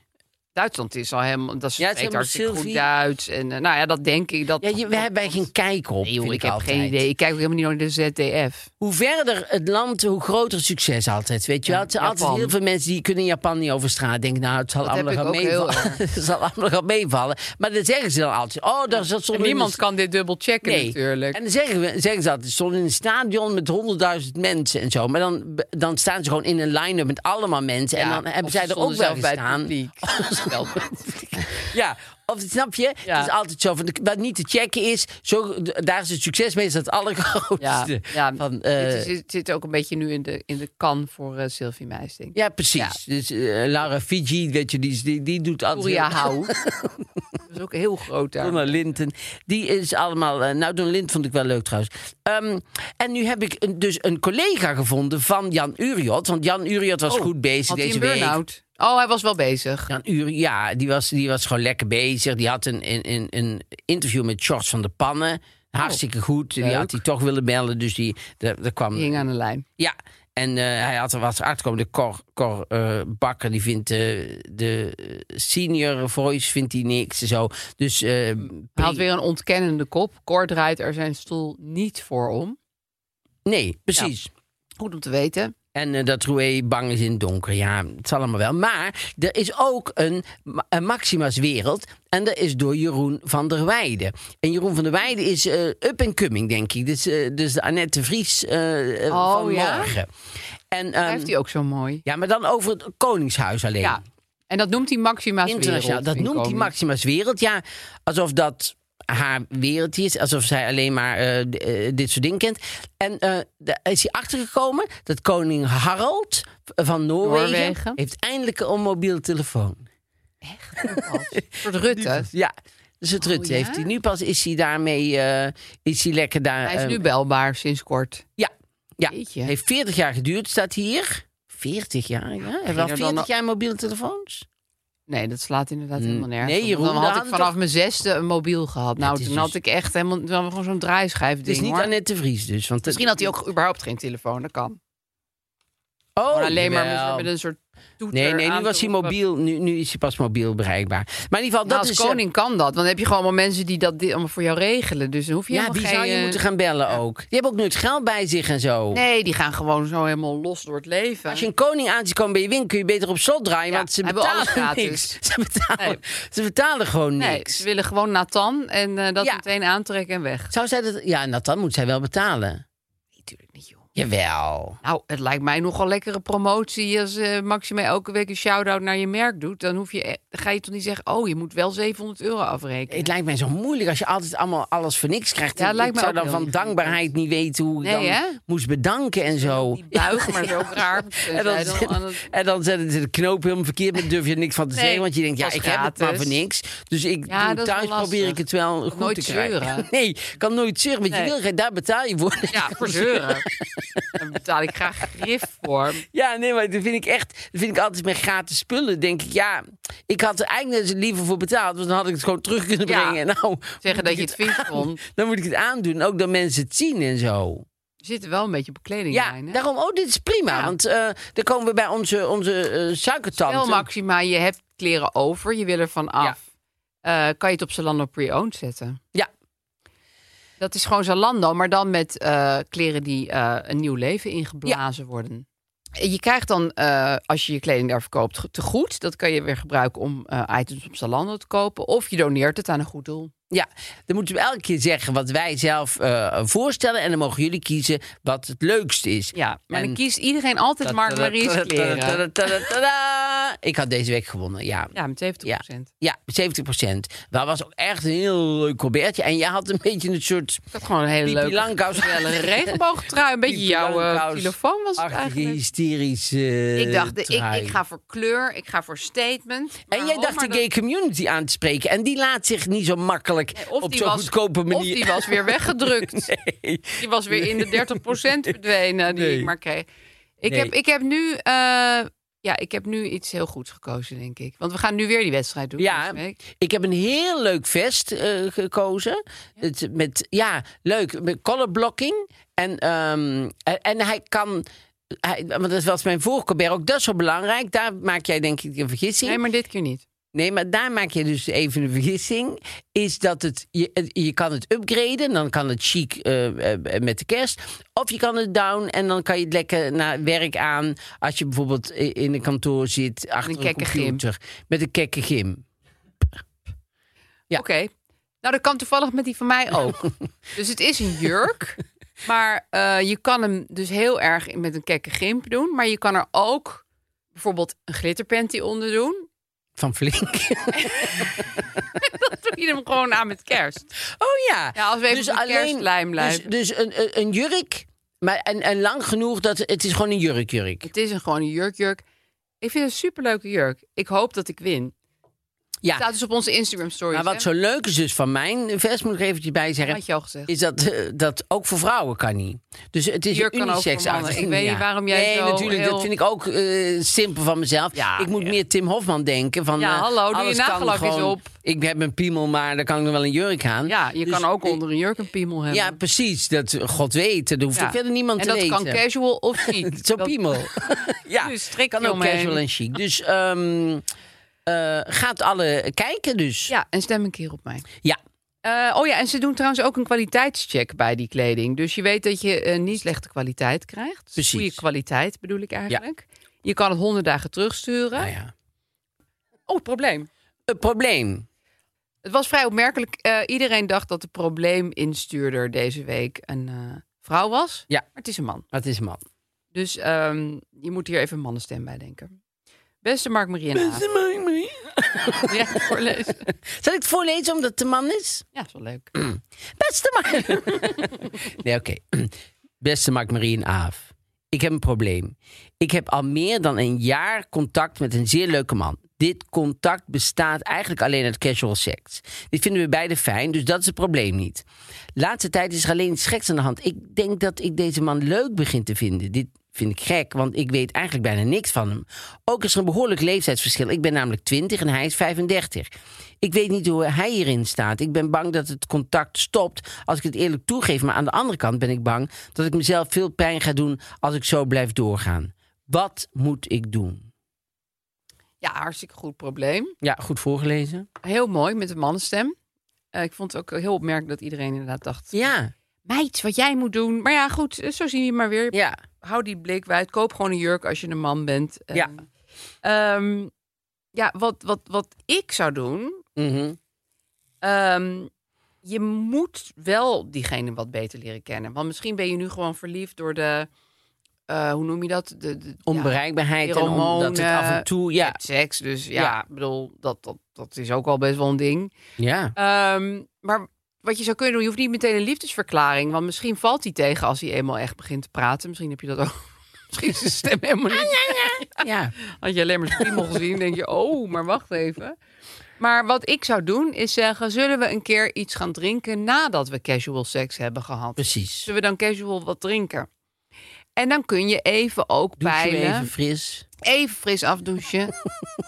[SPEAKER 2] Duitsland is al helemaal. Dat
[SPEAKER 1] Ja,
[SPEAKER 2] spreekt
[SPEAKER 1] het is helemaal
[SPEAKER 2] hartstikke goed
[SPEAKER 1] Sylvie.
[SPEAKER 2] Duits. En eh, nou ja, dat denk ik. Dat,
[SPEAKER 1] ja, je, wij, wij geen kijk op.
[SPEAKER 2] Nee, joh,
[SPEAKER 1] vind
[SPEAKER 2] ik, heb
[SPEAKER 1] altijd.
[SPEAKER 2] geen idee. Ik kijk ook helemaal niet naar de ZDF.
[SPEAKER 1] Hoe verder het land, hoe groter succes altijd. Weet je wel? Het zijn altijd
[SPEAKER 2] Japan.
[SPEAKER 1] heel veel mensen die kunnen in Japan niet over straat. Denken, nou, het zal
[SPEAKER 2] Dat
[SPEAKER 1] allemaal
[SPEAKER 2] heb
[SPEAKER 1] gaan
[SPEAKER 2] ik ook heel
[SPEAKER 1] meevallen. *laughs* Het zal allemaal gaan meevallen. Maar dan zeggen ze dan altijd, oh, daar zat
[SPEAKER 2] En
[SPEAKER 1] zonder...
[SPEAKER 2] niemand kan dit dubbel checken
[SPEAKER 1] Nee.
[SPEAKER 2] natuurlijk.
[SPEAKER 1] En dan zeggen, we, zeggen ze altijd, stond in een stadion met honderdduizend mensen en zo. Maar dan, dan staan ze gewoon in een line-up met allemaal mensen.
[SPEAKER 2] Ja,
[SPEAKER 1] en dan hebben
[SPEAKER 2] of
[SPEAKER 1] zij
[SPEAKER 2] ze
[SPEAKER 1] er ook wel
[SPEAKER 2] stonden zelf
[SPEAKER 1] gestaan. *laughs*
[SPEAKER 2] bij het publiek. Wel bij het publiek.
[SPEAKER 1] Ja, of snap je?
[SPEAKER 2] Ja.
[SPEAKER 1] Het is altijd zo van, de- wat niet te checken is, zo, daar is het succes meestal het
[SPEAKER 2] Ja,
[SPEAKER 1] allergrootste.
[SPEAKER 2] ja
[SPEAKER 1] Van,
[SPEAKER 2] dit
[SPEAKER 1] eh,
[SPEAKER 2] is- dit zit ook een beetje nu in de, in de kan voor eh Sylvie Meijs, denk ik.
[SPEAKER 1] Ja, precies. Dus eh, Lara Fiji, weet je, die, die, die doet altijd...
[SPEAKER 2] Gloria
[SPEAKER 1] heel- *laughs*
[SPEAKER 2] Hou. dat is ook heel groot daar.
[SPEAKER 1] Donna Linton. Die is allemaal... eh, nou, Donna Linton vond ik wel leuk trouwens. Ehm, en nu heb ik een- dus een collega gevonden van Jan Uriot. Want Jan Uriot was goed bezig
[SPEAKER 2] Oh, Had hij
[SPEAKER 1] deze
[SPEAKER 2] een
[SPEAKER 1] week.
[SPEAKER 2] burn-out? Oh, hij was wel bezig.
[SPEAKER 1] Jan Uri, ja, die was, die was gewoon lekker bezig. Die had een, een, een, een interview met George van der Pannen. Hartstikke goed. Die
[SPEAKER 2] Oh, leuk.
[SPEAKER 1] had hij toch willen bellen. Dus die, daar, daar kwam
[SPEAKER 2] Die hing aan de lijn.
[SPEAKER 1] Ja, en eh, hij had er wat uitgekomen. De Cor, Cor eh, Bakker, die vindt eh, de senior voice vindt hij niks en zo. Dus eh,
[SPEAKER 2] Hij
[SPEAKER 1] pri-
[SPEAKER 2] had weer een ontkennende kop. Cor draait er zijn stoel niet voor om.
[SPEAKER 1] Nee, precies.
[SPEAKER 2] Goed om te weten.
[SPEAKER 1] En eh, dat Roué bang is in het donker. Ja, het zal allemaal wel. Maar er is ook een, Ma- een Maxima's wereld. En dat is door Jeroen van der Weijden. En Jeroen van der Weijden is eh, up and coming, denk ik. Dus, eh, dus de Annette Vries eh, eh,
[SPEAKER 2] Oh,
[SPEAKER 1] van
[SPEAKER 2] ja?
[SPEAKER 1] morgen. En,
[SPEAKER 2] Hij
[SPEAKER 1] ehm,
[SPEAKER 2] heeft hij ook zo mooi.
[SPEAKER 1] ja, maar dan over het Koningshuis alleen.
[SPEAKER 2] Ja. En dat noemt hij Maxima's
[SPEAKER 1] Internationaal.
[SPEAKER 2] wereld,
[SPEAKER 1] Dat
[SPEAKER 2] vind ik
[SPEAKER 1] noemt die
[SPEAKER 2] ook.
[SPEAKER 1] Maxima's wereld. Ja, alsof dat haar wereld is. Alsof zij alleen maar eh, d- eh, dit soort dingen kent. En eh, daar is hij achtergekomen dat koning Harald van Noorwegen...
[SPEAKER 2] Noorwegen.
[SPEAKER 1] heeft eindelijk een mobiele telefoon.
[SPEAKER 2] Een soort Rutte.
[SPEAKER 1] Ja, dus het Rutte
[SPEAKER 2] Oh, ja?
[SPEAKER 1] heeft hij. Nu pas is hij daarmee... eh, is hij lekker daar...
[SPEAKER 2] Hij is
[SPEAKER 1] eh,
[SPEAKER 2] nu belbaar sinds kort.
[SPEAKER 1] Ja, ja.
[SPEAKER 2] Jeetje.
[SPEAKER 1] heeft 40 jaar geduurd, staat hier. 40 jaar, ja. Hebben we
[SPEAKER 2] er
[SPEAKER 1] al
[SPEAKER 2] dan
[SPEAKER 1] 40
[SPEAKER 2] al-
[SPEAKER 1] jaar mobiele telefoons?
[SPEAKER 2] Nee, dat slaat inderdaad helemaal nergens.
[SPEAKER 1] Hm. nee,
[SPEAKER 2] op.
[SPEAKER 1] Jeroen,
[SPEAKER 2] dan
[SPEAKER 1] daar
[SPEAKER 2] had ik
[SPEAKER 1] hadden we
[SPEAKER 2] vanaf
[SPEAKER 1] toch-
[SPEAKER 2] mijn zesde een mobiel gehad. Nou,
[SPEAKER 1] het is
[SPEAKER 2] toen
[SPEAKER 1] dus-
[SPEAKER 2] had ik echt helemaal toen hadden we gewoon zo'n draaischijf
[SPEAKER 1] Het is niet Annette de Vries dus. Want
[SPEAKER 2] Misschien had hij ook überhaupt geen telefoon, dat kan.
[SPEAKER 1] oh,
[SPEAKER 2] Gewoon alleen maar moest
[SPEAKER 1] jawel.
[SPEAKER 2] er met een soort toeter
[SPEAKER 1] Nee, nee, nu
[SPEAKER 2] aan te
[SPEAKER 1] was hij
[SPEAKER 2] roepen.
[SPEAKER 1] mobiel. Nu, nu is hij pas mobiel bereikbaar. Maar in ieder geval,
[SPEAKER 2] Nou,
[SPEAKER 1] dat
[SPEAKER 2] als
[SPEAKER 1] is... eh,
[SPEAKER 2] koning kan dat. Want dan heb je gewoon allemaal mensen die dat dit allemaal voor jou regelen. Dus dan hoef je
[SPEAKER 1] Ja,
[SPEAKER 2] helemaal
[SPEAKER 1] die
[SPEAKER 2] geen,
[SPEAKER 1] zou je
[SPEAKER 2] eh,
[SPEAKER 1] moeten gaan bellen ook. Die hebben ook nu het geld bij zich en zo.
[SPEAKER 2] Nee, die gaan gewoon zo helemaal los door het leven.
[SPEAKER 1] Als je een koning aan ziet komen bij je winkel, kun je beter op slot draaien.
[SPEAKER 2] Ja,
[SPEAKER 1] want ze
[SPEAKER 2] hebben we
[SPEAKER 1] betalen
[SPEAKER 2] alles gratis.
[SPEAKER 1] niks. *laughs* Ze betalen, ze betalen gewoon
[SPEAKER 2] nee,
[SPEAKER 1] niks.
[SPEAKER 2] ze willen gewoon Nathan en eh, dat
[SPEAKER 1] Ja.
[SPEAKER 2] meteen aantrekken en weg.
[SPEAKER 1] Zou zij dat... Ja, nou, dan moet zij wel betalen.
[SPEAKER 2] Natuurlijk niet, joh.
[SPEAKER 1] Jawel.
[SPEAKER 2] Nou, het lijkt mij nogal lekkere promotie als eh Maxima elke week een shout-out naar je merk doet. Dan hoef je, eh, ga je toch niet zeggen, oh, je moet wel 700 euro afrekenen.
[SPEAKER 1] Het lijkt mij zo moeilijk als je altijd allemaal alles voor niks krijgt.
[SPEAKER 2] Ja, het
[SPEAKER 1] ik
[SPEAKER 2] lijkt mij
[SPEAKER 1] zou
[SPEAKER 2] ook
[SPEAKER 1] dan
[SPEAKER 2] heel
[SPEAKER 1] van
[SPEAKER 2] ingewikkeld.
[SPEAKER 1] dankbaarheid niet weten hoe ik
[SPEAKER 2] Nee,
[SPEAKER 1] dan
[SPEAKER 2] hè?
[SPEAKER 1] moest bedanken en zo.
[SPEAKER 2] Die *laughs* buigen maar zo ook raar.
[SPEAKER 1] En dan,
[SPEAKER 2] Zij Oh. dan aan het-
[SPEAKER 1] en dan zetten ze de knoop helemaal verkeerd, maar daar durf je er niks van te
[SPEAKER 2] Nee,
[SPEAKER 1] zeggen. Want je denkt, ja,
[SPEAKER 2] was
[SPEAKER 1] ik heb het maar
[SPEAKER 2] gratis.
[SPEAKER 1] voor niks. Dus ik
[SPEAKER 2] Ja,
[SPEAKER 1] doe
[SPEAKER 2] dat is
[SPEAKER 1] thuis
[SPEAKER 2] wel
[SPEAKER 1] probeer ik
[SPEAKER 2] lastig.
[SPEAKER 1] het wel goed
[SPEAKER 2] nooit
[SPEAKER 1] te krijgen.
[SPEAKER 2] zeuren.
[SPEAKER 1] *laughs* Nee, ik kan nooit zeuren, want
[SPEAKER 2] Nee.
[SPEAKER 1] je wil, daar betaal je voor.
[SPEAKER 2] Ja, voor zeuren. Daar betaal ik graag grif voor.
[SPEAKER 1] *laughs* Ja, nee, maar dat vind ik echt. Dat vind ik altijd met gratis spullen. Denk ik, ja, ik had er eigenlijk net liever voor betaald. Want dan had ik het gewoon terug kunnen
[SPEAKER 2] Ja.
[SPEAKER 1] brengen. En nou, moet
[SPEAKER 2] Zeggen dat
[SPEAKER 1] ik
[SPEAKER 2] je het vindt
[SPEAKER 1] aan-
[SPEAKER 2] vond.
[SPEAKER 1] Dan moet ik het aandoen. Ook dat mensen het zien en zo.
[SPEAKER 2] Er zitten wel een beetje bekledinglijn.
[SPEAKER 1] Ja,
[SPEAKER 2] kledinglijn. hè?
[SPEAKER 1] daarom. Oh, dit is prima.
[SPEAKER 2] Ja.
[SPEAKER 1] Want eh dan komen we bij onze, onze eh suikertante.
[SPEAKER 2] Wel, Maxima, je hebt kleren over, je wil er van af. Eh, kan je het op Zalando pre-owned zetten?
[SPEAKER 1] Ja.
[SPEAKER 2] Dat is gewoon Zalando, maar dan met eh, kleren die eh, een nieuw leven ingeblazen worden. Je krijgt dan, eh, als je je kleding daar verkoopt, ge- te goed. Dat kan je weer gebruiken om eh, items op Zalando te kopen. Of je doneert het aan een goed doel.
[SPEAKER 1] Ja, dan moeten we elke keer zeggen wat wij zelf eh, voorstellen. En dan mogen jullie kiezen wat het leukst is.
[SPEAKER 2] Ja, maar
[SPEAKER 1] En-
[SPEAKER 2] dan kiest iedereen altijd Mark Marie's kleren.
[SPEAKER 1] Tadadadadadada. Ik had deze week gewonnen, ja.
[SPEAKER 2] Ja, met 70
[SPEAKER 1] Ja, ja 70 procent. Dat was ook echt een heel leuk colbertje. En jij had een beetje een soort...
[SPEAKER 2] Ik had gewoon een hele
[SPEAKER 1] Pipi
[SPEAKER 2] leuke, *laughs*
[SPEAKER 1] Langkous.
[SPEAKER 2] gezellige regenboogtrui. Een beetje
[SPEAKER 1] Pipi
[SPEAKER 2] jouw eh,
[SPEAKER 1] Langkous.
[SPEAKER 2] telefoon was het
[SPEAKER 1] Achtige
[SPEAKER 2] eigenlijk.
[SPEAKER 1] hysterische
[SPEAKER 2] Ik dacht, de- ik,
[SPEAKER 1] trui.
[SPEAKER 2] ik ga voor kleur, ik ga voor statement. Maar
[SPEAKER 1] En jij
[SPEAKER 2] hoor
[SPEAKER 1] dacht
[SPEAKER 2] maar
[SPEAKER 1] de gay community aan te spreken. En die laat zich niet zo makkelijk
[SPEAKER 2] dat-
[SPEAKER 1] op zo'n goedkope manier...
[SPEAKER 2] Of die
[SPEAKER 1] *laughs*
[SPEAKER 2] was weer weggedrukt. Die was weer in de 30% verdwenen die
[SPEAKER 1] Nee.
[SPEAKER 2] ik maar kreeg. Ik,
[SPEAKER 1] Nee.
[SPEAKER 2] heb, ik, heb nu, eh, ja, ik heb nu iets heel goeds gekozen, denk ik. Want we gaan nu weer die wedstrijd doen.
[SPEAKER 1] Ja.
[SPEAKER 2] deze week.
[SPEAKER 1] Ik heb een heel leuk vest eh, gekozen. Het, met, ja, leuk. Met color blocking. En, ehm, en, en hij kan... Hij, want dat was mijn voorkeur ook. Dat is zo belangrijk. Daar maak jij denk ik een vergissing.
[SPEAKER 2] Nee, maar dit keer niet.
[SPEAKER 1] Nee, maar daar maak je dus even een vergissing. Is dat het, je, het- je kan het upgraden, dan kan het chic eh, eh, met de kerst. Of je kan het down en dan kan je het lekker naar werk aan. Als je bijvoorbeeld i- in een kantoor zit, achter een,
[SPEAKER 2] kekke gym.
[SPEAKER 1] computer. Met een kekke gym. Ja.
[SPEAKER 2] Oké. Nou, dat kan toevallig met die van mij ook.
[SPEAKER 1] *laughs*
[SPEAKER 2] dus het is een jurk. Maar eh, je kan hem dus heel erg met een kekke gimp doen. Maar je kan er ook bijvoorbeeld een glitterpanty onder doen. *laughs*
[SPEAKER 1] Van flink.
[SPEAKER 2] Dan doe je hem gewoon aan met kerst.
[SPEAKER 1] *laughs* Oh ja.
[SPEAKER 2] Ja, als we even op de kerstlijm
[SPEAKER 1] dus,
[SPEAKER 2] blijven.
[SPEAKER 1] dus een, een, een jurk. Maar en, en lang genoeg dat het is gewoon een jurkjurk.
[SPEAKER 2] Het is een gewoon een jurkjurk. Ik vind het een superleuke jurk. Ik hoop dat ik win.
[SPEAKER 1] Ja.
[SPEAKER 2] Staat dus op onze Instagram stories.
[SPEAKER 1] Maar wat
[SPEAKER 2] hè?
[SPEAKER 1] zo leuk is dus van mijn vest, moet ik er eventjes bij zeggen.
[SPEAKER 2] Had je al gezegd.
[SPEAKER 1] is dat, eh, dat ook voor vrouwen kan niet. Dus het is
[SPEAKER 2] Jurk
[SPEAKER 1] een
[SPEAKER 2] kan ook voor
[SPEAKER 1] unisex
[SPEAKER 2] mannen.
[SPEAKER 1] uiting,
[SPEAKER 2] Ik weet niet waarom jij
[SPEAKER 1] Nee,
[SPEAKER 2] zo
[SPEAKER 1] natuurlijk.
[SPEAKER 2] heel-
[SPEAKER 1] Dat vind ik ook eh, simpel van mezelf.
[SPEAKER 2] Ja,
[SPEAKER 1] ik moet
[SPEAKER 2] ja.
[SPEAKER 1] meer Tim Hofman denken. Van,
[SPEAKER 2] Ja,
[SPEAKER 1] eh,
[SPEAKER 2] hallo, doe je
[SPEAKER 1] alles
[SPEAKER 2] nagellak
[SPEAKER 1] kan
[SPEAKER 2] eens
[SPEAKER 1] gewoon-
[SPEAKER 2] op.
[SPEAKER 1] Ik heb een piemel, maar daar kan ik nog wel een jurk aan.
[SPEAKER 2] Ja, je
[SPEAKER 1] Dus
[SPEAKER 2] kan ook
[SPEAKER 1] ik-
[SPEAKER 2] onder een jurk een piemel hebben.
[SPEAKER 1] Ja, precies. Dat God weet. Dat hoeft
[SPEAKER 2] Ja.
[SPEAKER 1] ook verder niemand
[SPEAKER 2] en
[SPEAKER 1] te
[SPEAKER 2] dat
[SPEAKER 1] weten.
[SPEAKER 2] kan casual
[SPEAKER 1] *laughs*
[SPEAKER 2] of chic.
[SPEAKER 1] Zo'n
[SPEAKER 2] Dat-
[SPEAKER 1] piemel.
[SPEAKER 2] *laughs*
[SPEAKER 1] ja,
[SPEAKER 2] Dus strik
[SPEAKER 1] kan ook
[SPEAKER 2] eromheen.
[SPEAKER 1] casual en chic. Dus ehm, eh, gaat alle kijken dus.
[SPEAKER 2] Ja, en stem een keer op mij.
[SPEAKER 1] Ja.
[SPEAKER 2] Eh, oh ja, en ze doen trouwens ook een kwaliteitscheck bij die kleding. Dus je weet dat je eh, niet slechte kwaliteit krijgt.
[SPEAKER 1] Precies.
[SPEAKER 2] Goede kwaliteit bedoel ik eigenlijk. Je kan het honderd dagen terugsturen.
[SPEAKER 1] Nou ja.
[SPEAKER 2] Oh, het probleem.
[SPEAKER 1] Een probleem.
[SPEAKER 2] Het was vrij opmerkelijk. Eh, iedereen dacht dat de probleeminstuurder deze week een eh, vrouw was.
[SPEAKER 1] Ja.
[SPEAKER 2] Maar het is een man.
[SPEAKER 1] Wat is een man?
[SPEAKER 2] Dus ehm, je moet hier even een mannenstem bij denken. Beste Mark Marie en Aaf. Ja, voorlezen.
[SPEAKER 1] *laughs* Zal ik het voorlezen omdat het een man is?
[SPEAKER 2] Ja, is wel leuk.
[SPEAKER 1] Beste Mark. *laughs* nee, oké. Beste Mark, Marie en Aaf. Ik heb een probleem. Ik heb al meer dan een jaar contact met een zeer leuke man. Dit contact bestaat eigenlijk alleen uit casual seks. Dit vinden we beide fijn, dus dat is het probleem niet. Laatste tijd is er alleen seks aan de hand. Ik denk dat ik deze man leuk begin te vinden. Dit vind ik gek, want ik weet eigenlijk bijna niks van hem. Ook is er een behoorlijk leeftijdsverschil. Ik ben namelijk 20 en hij is 35. Ik weet niet hoe hij hierin staat. Ik ben bang dat het contact stopt als ik het eerlijk toegeef. Maar aan de andere kant ben ik bang dat ik mezelf veel pijn ga doen als ik zo blijf doorgaan. Wat moet ik doen?
[SPEAKER 2] Ja, hartstikke goed probleem.
[SPEAKER 1] Ja, goed voorgelezen.
[SPEAKER 2] Heel mooi met de mannenstem. Eh, ik vond het ook heel opmerkelijk dat iedereen inderdaad dacht...
[SPEAKER 1] Ja,
[SPEAKER 2] meid, wat jij moet doen. Maar ja, goed, eh, zo zie je maar weer.
[SPEAKER 1] ja.
[SPEAKER 2] Hou die blik wijd. Koop gewoon een jurk als je een man bent. Eh,
[SPEAKER 1] Ja.
[SPEAKER 2] ehm, ja, wat, wat, wat ik zou doen...
[SPEAKER 1] Mhm.
[SPEAKER 2] ehm, je moet wel diegene wat beter leren kennen. Want misschien ben je nu gewoon verliefd door de... eh, hoe noem je dat? De, de, ja,
[SPEAKER 1] Onbereikbaarheid en omdat het
[SPEAKER 2] Pheromonen.
[SPEAKER 1] af en toe...
[SPEAKER 2] Je
[SPEAKER 1] Ja,
[SPEAKER 2] hebt seks. Dus ja,
[SPEAKER 1] Ja.
[SPEAKER 2] ik bedoel, dat, dat, dat is ook al best wel een ding.
[SPEAKER 1] ja.
[SPEAKER 2] Ehm, maar wat je zou kunnen doen, je hoeft niet meteen een liefdesverklaring. Want misschien valt hij tegen als hij eenmaal echt begint te praten. Misschien heb je dat ook. *laughs* Misschien is zijn stem helemaal niet.
[SPEAKER 1] Ah, ja.
[SPEAKER 2] Had je alleen maar
[SPEAKER 1] *laughs*
[SPEAKER 2] zijn piemel gezien, denk je, oh, maar wacht even. Maar wat ik zou doen, is zeggen, zullen we een keer iets gaan drinken nadat we casual seks hebben gehad?
[SPEAKER 1] precies.
[SPEAKER 2] Zullen we dan casual wat drinken? En dan kun je even ook
[SPEAKER 1] Doe je
[SPEAKER 2] peilen
[SPEAKER 1] even fris.
[SPEAKER 2] even fris
[SPEAKER 1] *laughs*
[SPEAKER 2] afdouchen.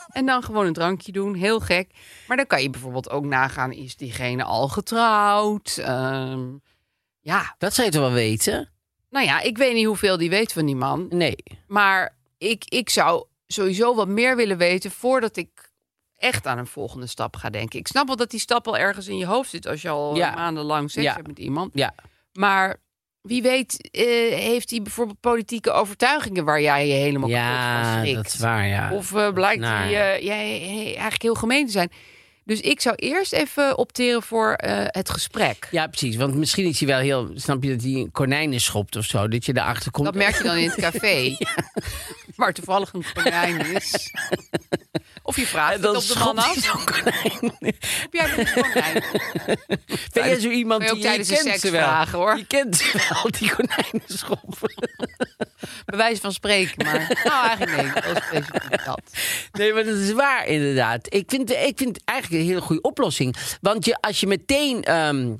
[SPEAKER 2] en dan gewoon een drankje doen. Heel gek. Maar dan kan je bijvoorbeeld ook nagaan: is diegene al getrouwd? Ehm, ja,
[SPEAKER 1] Dat zou je toch wel weten?
[SPEAKER 2] nou ja, ik weet niet hoeveel die weet van die man.
[SPEAKER 1] Nee.
[SPEAKER 2] Maar ik, ik zou sowieso wat meer willen weten voordat ik echt aan een volgende stap ga denken. Ik snap wel dat die stap al ergens in je hoofd zit als je al
[SPEAKER 1] Ja.
[SPEAKER 2] maandenlang seks
[SPEAKER 1] Ja.
[SPEAKER 2] hebt met iemand.
[SPEAKER 1] Ja.
[SPEAKER 2] Maar wie weet eh, heeft hij bijvoorbeeld politieke overtuigingen waar jij je helemaal kapot van
[SPEAKER 1] Ja,
[SPEAKER 2] schrikt.
[SPEAKER 1] dat is waar, ja.
[SPEAKER 2] Of eh, blijkt
[SPEAKER 1] naar.
[SPEAKER 2] hij eh, jij, eh, eigenlijk heel gemeen te zijn. Dus ik zou eerst even opteren voor eh, het gesprek.
[SPEAKER 1] Ja, precies. Want misschien is hij wel heel... Snap je dat hij een konijnen schopt of zo? Dat je erachter komt.
[SPEAKER 2] Dat merk je dan in het café. *laughs* Waar toevallig een konijn is. Of je vraagt
[SPEAKER 1] En dan
[SPEAKER 2] het op de man
[SPEAKER 1] schopt hij
[SPEAKER 2] af.
[SPEAKER 1] zo'n *laughs* konijn.
[SPEAKER 2] Heb jij een konijn?
[SPEAKER 1] Ben jij zo iemand
[SPEAKER 2] Kun je
[SPEAKER 1] die
[SPEAKER 2] ook tijdens
[SPEAKER 1] je
[SPEAKER 2] de
[SPEAKER 1] kent
[SPEAKER 2] seks
[SPEAKER 1] ze wel.
[SPEAKER 2] vragen, hoor.
[SPEAKER 1] Je kent *laughs* ze wel, die konijnen schoppen.
[SPEAKER 2] Bij wijze van spreken, maar nou eigenlijk nee. Dat is specifiek dat.
[SPEAKER 1] Nee, maar dat is waar inderdaad. Ik vind, ik vind het eigenlijk een hele goede oplossing. Want je, als je meteen ehm,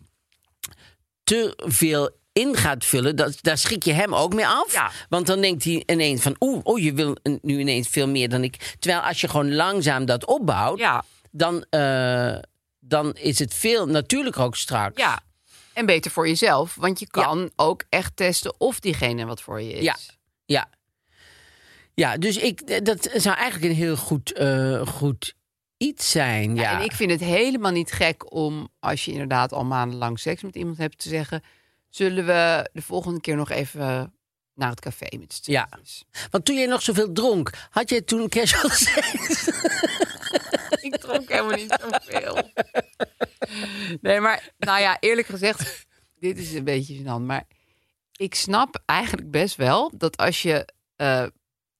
[SPEAKER 1] te veel in gaat vullen, dat, daar schrik je hem ook mee af.
[SPEAKER 2] Ja.
[SPEAKER 1] Want dan denkt hij ineens van, oeh, oh, je wil een- nu ineens veel meer dan ik. Terwijl als je gewoon langzaam dat opbouwt,
[SPEAKER 2] Ja,
[SPEAKER 1] dan, eh, dan is het veel natuurlijker ook straks.
[SPEAKER 2] ja. En beter voor jezelf. Want je kan ook echt testen of diegene wat voor je is.
[SPEAKER 1] Ja. Ja. Ja, dus ik, dat zou eigenlijk een heel goed, eh, goed iets zijn. Ja,
[SPEAKER 2] Ja, En ik vind het helemaal niet gek om, als je inderdaad al maandenlang seks met iemand hebt, te zeggen: Zullen we de volgende keer nog even naar het café met z'n Dus
[SPEAKER 1] Ja.
[SPEAKER 2] tweetjes?"
[SPEAKER 1] Want toen jij nog zoveel dronk, had jij toen casual seks?
[SPEAKER 2] Ik dronk helemaal niet zoveel. *laughs* Nee, maar nou ja, eerlijk gezegd, *laughs* dit is een beetje gênant. Maar ik snap eigenlijk best wel dat als je eh,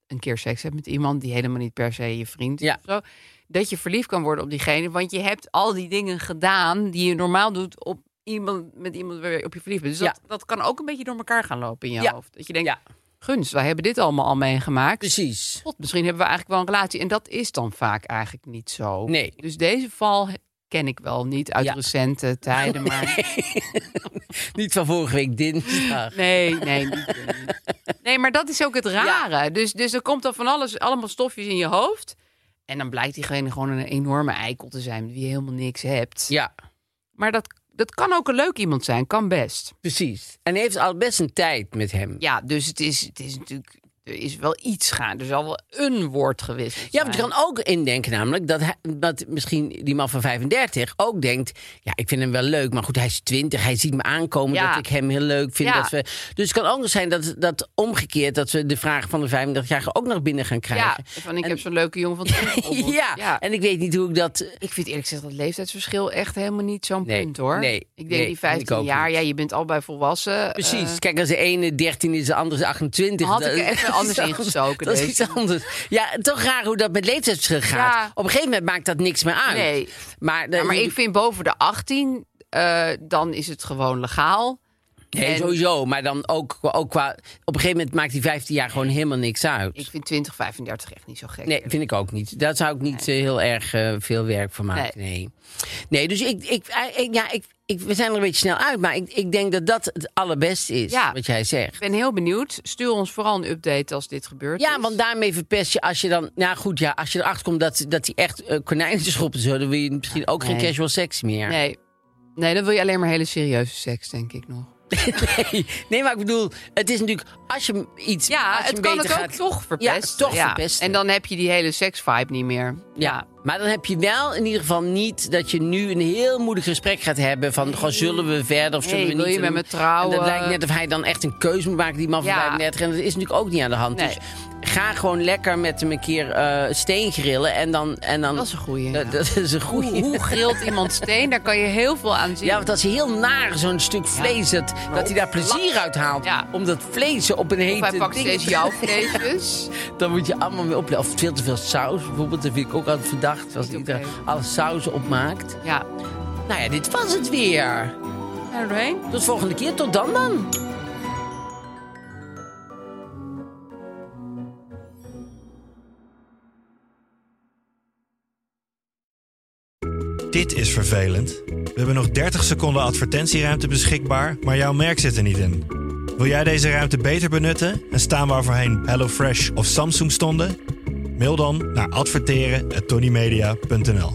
[SPEAKER 2] een keer seks hebt met iemand die helemaal niet per se je vriend is
[SPEAKER 1] Ja.
[SPEAKER 2] of zo, dat je verliefd kan worden op diegene. Want je hebt al die dingen gedaan die je normaal doet op iemand, met iemand waar je op je verliefd bent. Dus dat, dat kan ook een beetje door elkaar gaan lopen in je
[SPEAKER 1] Ja.
[SPEAKER 2] hoofd. Dat je denkt, guns, wij hebben dit allemaal al meegemaakt.
[SPEAKER 1] Precies.
[SPEAKER 2] God, misschien hebben we eigenlijk wel een relatie. En dat is dan vaak eigenlijk niet zo.
[SPEAKER 1] Nee.
[SPEAKER 2] Dus deze val he- ken ik wel niet uit
[SPEAKER 1] Ja.
[SPEAKER 2] recente
[SPEAKER 1] *laughs*
[SPEAKER 2] tijden. Maar...
[SPEAKER 1] Niet van vorige week
[SPEAKER 2] *laughs*
[SPEAKER 1] dinsdag.
[SPEAKER 2] Nee, nee, niet, niet. Nee, maar dat is ook het rare. Dus, dus er komt dan van alles, allemaal stofjes in je hoofd. En dan blijkt diegene gewoon een enorme eikel te zijn... met wie je helemaal niks hebt.
[SPEAKER 1] Ja,
[SPEAKER 2] Maar dat, dat kan ook een leuk iemand zijn. Kan best.
[SPEAKER 1] precies. En hij heeft al best een tijd met hem.
[SPEAKER 2] Ja, dus het is, het is natuurlijk... Er is wel iets gaan. Er zal wel een woord gewisseld
[SPEAKER 1] Ja, want je
[SPEAKER 2] zijn.
[SPEAKER 1] kan ook indenken namelijk dat, hij- dat misschien die man van 35 ook denkt... ja, ik vind hem wel leuk, maar goed, hij is 20, hij ziet me aankomen...
[SPEAKER 2] Ja.
[SPEAKER 1] dat ik hem heel leuk vind.
[SPEAKER 2] Ja.
[SPEAKER 1] Dat we, dus het kan ook nog zijn dat, dat omgekeerd... dat we de vraag van de 35-jarige ook naar binnen gaan
[SPEAKER 2] Ja,
[SPEAKER 1] krijgen.
[SPEAKER 2] van ik heb zo'n leuke
[SPEAKER 1] *laughs*
[SPEAKER 2] jongen van 20 gevonden.
[SPEAKER 1] ja, en ik weet niet hoe ik dat...
[SPEAKER 2] Ik vind eerlijk gezegd dat leeftijdsverschil echt helemaal niet zo'n
[SPEAKER 1] Nee,
[SPEAKER 2] punt hoor.
[SPEAKER 1] nee,
[SPEAKER 2] ik denk
[SPEAKER 1] nee,
[SPEAKER 2] die
[SPEAKER 1] vind ik
[SPEAKER 2] 15
[SPEAKER 1] ook
[SPEAKER 2] jaar,
[SPEAKER 1] niet.
[SPEAKER 2] ja, je bent al bij volwassen.
[SPEAKER 1] Precies.
[SPEAKER 2] Eh,
[SPEAKER 1] Kijk, als de ene 13 is, de andere is 28.
[SPEAKER 2] Had
[SPEAKER 1] Dat-
[SPEAKER 2] ik er even
[SPEAKER 1] *laughs* dat is
[SPEAKER 2] anders
[SPEAKER 1] iets
[SPEAKER 2] ingestoken,
[SPEAKER 1] Dat is
[SPEAKER 2] deze.
[SPEAKER 1] iets anders. Ja, toch raar hoe dat met leeftijdsverschil gaat.
[SPEAKER 2] Ja.
[SPEAKER 1] Op een gegeven moment maakt dat niks meer uit.
[SPEAKER 2] Nee.
[SPEAKER 1] Maar, de-
[SPEAKER 2] ja, maar ik vind boven de 18, eh, dan is het gewoon legaal.
[SPEAKER 1] Nee,
[SPEAKER 2] En-
[SPEAKER 1] sowieso. Maar dan ook, ook qua... Op een gegeven moment maakt die 15 jaar gewoon helemaal niks uit.
[SPEAKER 2] Ik vind 20, 35 echt niet zo gek.
[SPEAKER 1] Nee, vind ik ook niet. Daar zou ik niet eh, heel erg eh, veel werk van maken. Nee, nee. dus ik, ik, eh, ik- ja, ik, ik, we zijn er een beetje snel uit. Maar ik, ik denk dat dat het allerbeste is,
[SPEAKER 2] Ja.
[SPEAKER 1] wat jij zegt.
[SPEAKER 2] Ik ben heel benieuwd. Stuur ons vooral een update als dit gebeurt.
[SPEAKER 1] Ja, want daarmee verpest je als je dan... Nou goed, ja, als je erachter komt dat, dat die echt eh, konijnen te schoppen zullen... dan wil je misschien ook geen
[SPEAKER 2] Nee.
[SPEAKER 1] casual seks meer.
[SPEAKER 2] Nee. nee, dan wil je alleen maar hele serieuze seks, denk ik nog.
[SPEAKER 1] *laughs* Nee, nee, maar ik bedoel, het is natuurlijk... Als je iets...
[SPEAKER 2] Ja,
[SPEAKER 1] als je
[SPEAKER 2] het
[SPEAKER 1] hem
[SPEAKER 2] kan het
[SPEAKER 1] beter
[SPEAKER 2] ook
[SPEAKER 1] gaat-
[SPEAKER 2] toch verpesten.
[SPEAKER 1] Ja, toch verpesten.
[SPEAKER 2] En dan heb je die hele seksvibe niet meer.
[SPEAKER 1] Ja, maar dan heb je wel in ieder geval niet dat je nu een heel moedig gesprek gaat hebben van gewoon zullen we verder of zullen
[SPEAKER 2] Hey,
[SPEAKER 1] we
[SPEAKER 2] wil
[SPEAKER 1] niet.
[SPEAKER 2] je met me
[SPEAKER 1] En
[SPEAKER 2] trouwen?
[SPEAKER 1] Dat lijkt net of hij dan echt een keuze moet maken die man van
[SPEAKER 2] Ja.
[SPEAKER 1] 35 en dat is natuurlijk ook niet aan de hand.
[SPEAKER 2] Nee.
[SPEAKER 1] Dus ga gewoon lekker met hem een keer eh, steen grillen en dan en dan.
[SPEAKER 2] Dat is een goeie,
[SPEAKER 1] Dat,
[SPEAKER 2] ja.
[SPEAKER 1] dat is een goeie.
[SPEAKER 2] Hoe, hoe grilt iemand steen? Daar kan je heel veel aan zien.
[SPEAKER 1] Ja, want dat is heel naar, zo'n stuk vlees. Dat, dat hij daar plezier uit haalt.
[SPEAKER 2] Ja.
[SPEAKER 1] Om dat vlees op een hete
[SPEAKER 2] of hij pakt
[SPEAKER 1] ding
[SPEAKER 2] steeds
[SPEAKER 1] te-
[SPEAKER 2] jouw *laughs* vleesjes.
[SPEAKER 1] *laughs* Dan moet je allemaal weer opletten. Of veel te veel saus bijvoorbeeld. Dat vind ik ook altijd verdacht. Als
[SPEAKER 2] Niet
[SPEAKER 1] iedereen
[SPEAKER 2] opgeven.
[SPEAKER 1] alle sauzen opmaakt.
[SPEAKER 2] Ja,
[SPEAKER 1] Nou ja, dit was het weer.
[SPEAKER 2] en er doorheen.
[SPEAKER 1] Tot volgende keer. Tot dan dan.
[SPEAKER 3] Dit is vervelend. We hebben nog 30 seconden advertentieruimte beschikbaar, maar jouw merk zit er niet in. Wil jij deze ruimte beter benutten en staan waar voorheen HelloFresh of Samsung stonden? Mail dan naar adverteren@tonymedia.nl.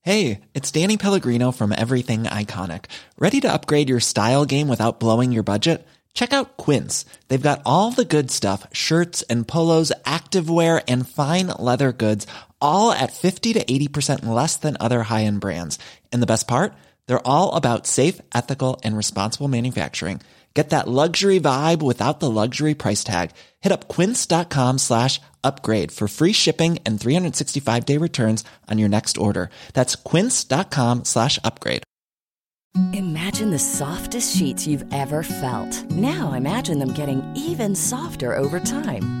[SPEAKER 4] Hey, it's Danny Pellegrino from Everything Iconic. Ready to upgrade your style game without blowing your budget? Check out Quince. They've got all the good stuff shirts and polos, activewear, and fine leather goods, all at 50 to 80% less than other high end brands. And the best part? They're all about safe, ethical, and responsible manufacturing. Get that luxury vibe without the luxury price tag. Hit up quince.com slash upgrade for free shipping and 365 day returns on your next order. That's quince.com slash upgrade.
[SPEAKER 5] Imagine the softest sheets you've ever felt. Now imagine them getting even softer over time.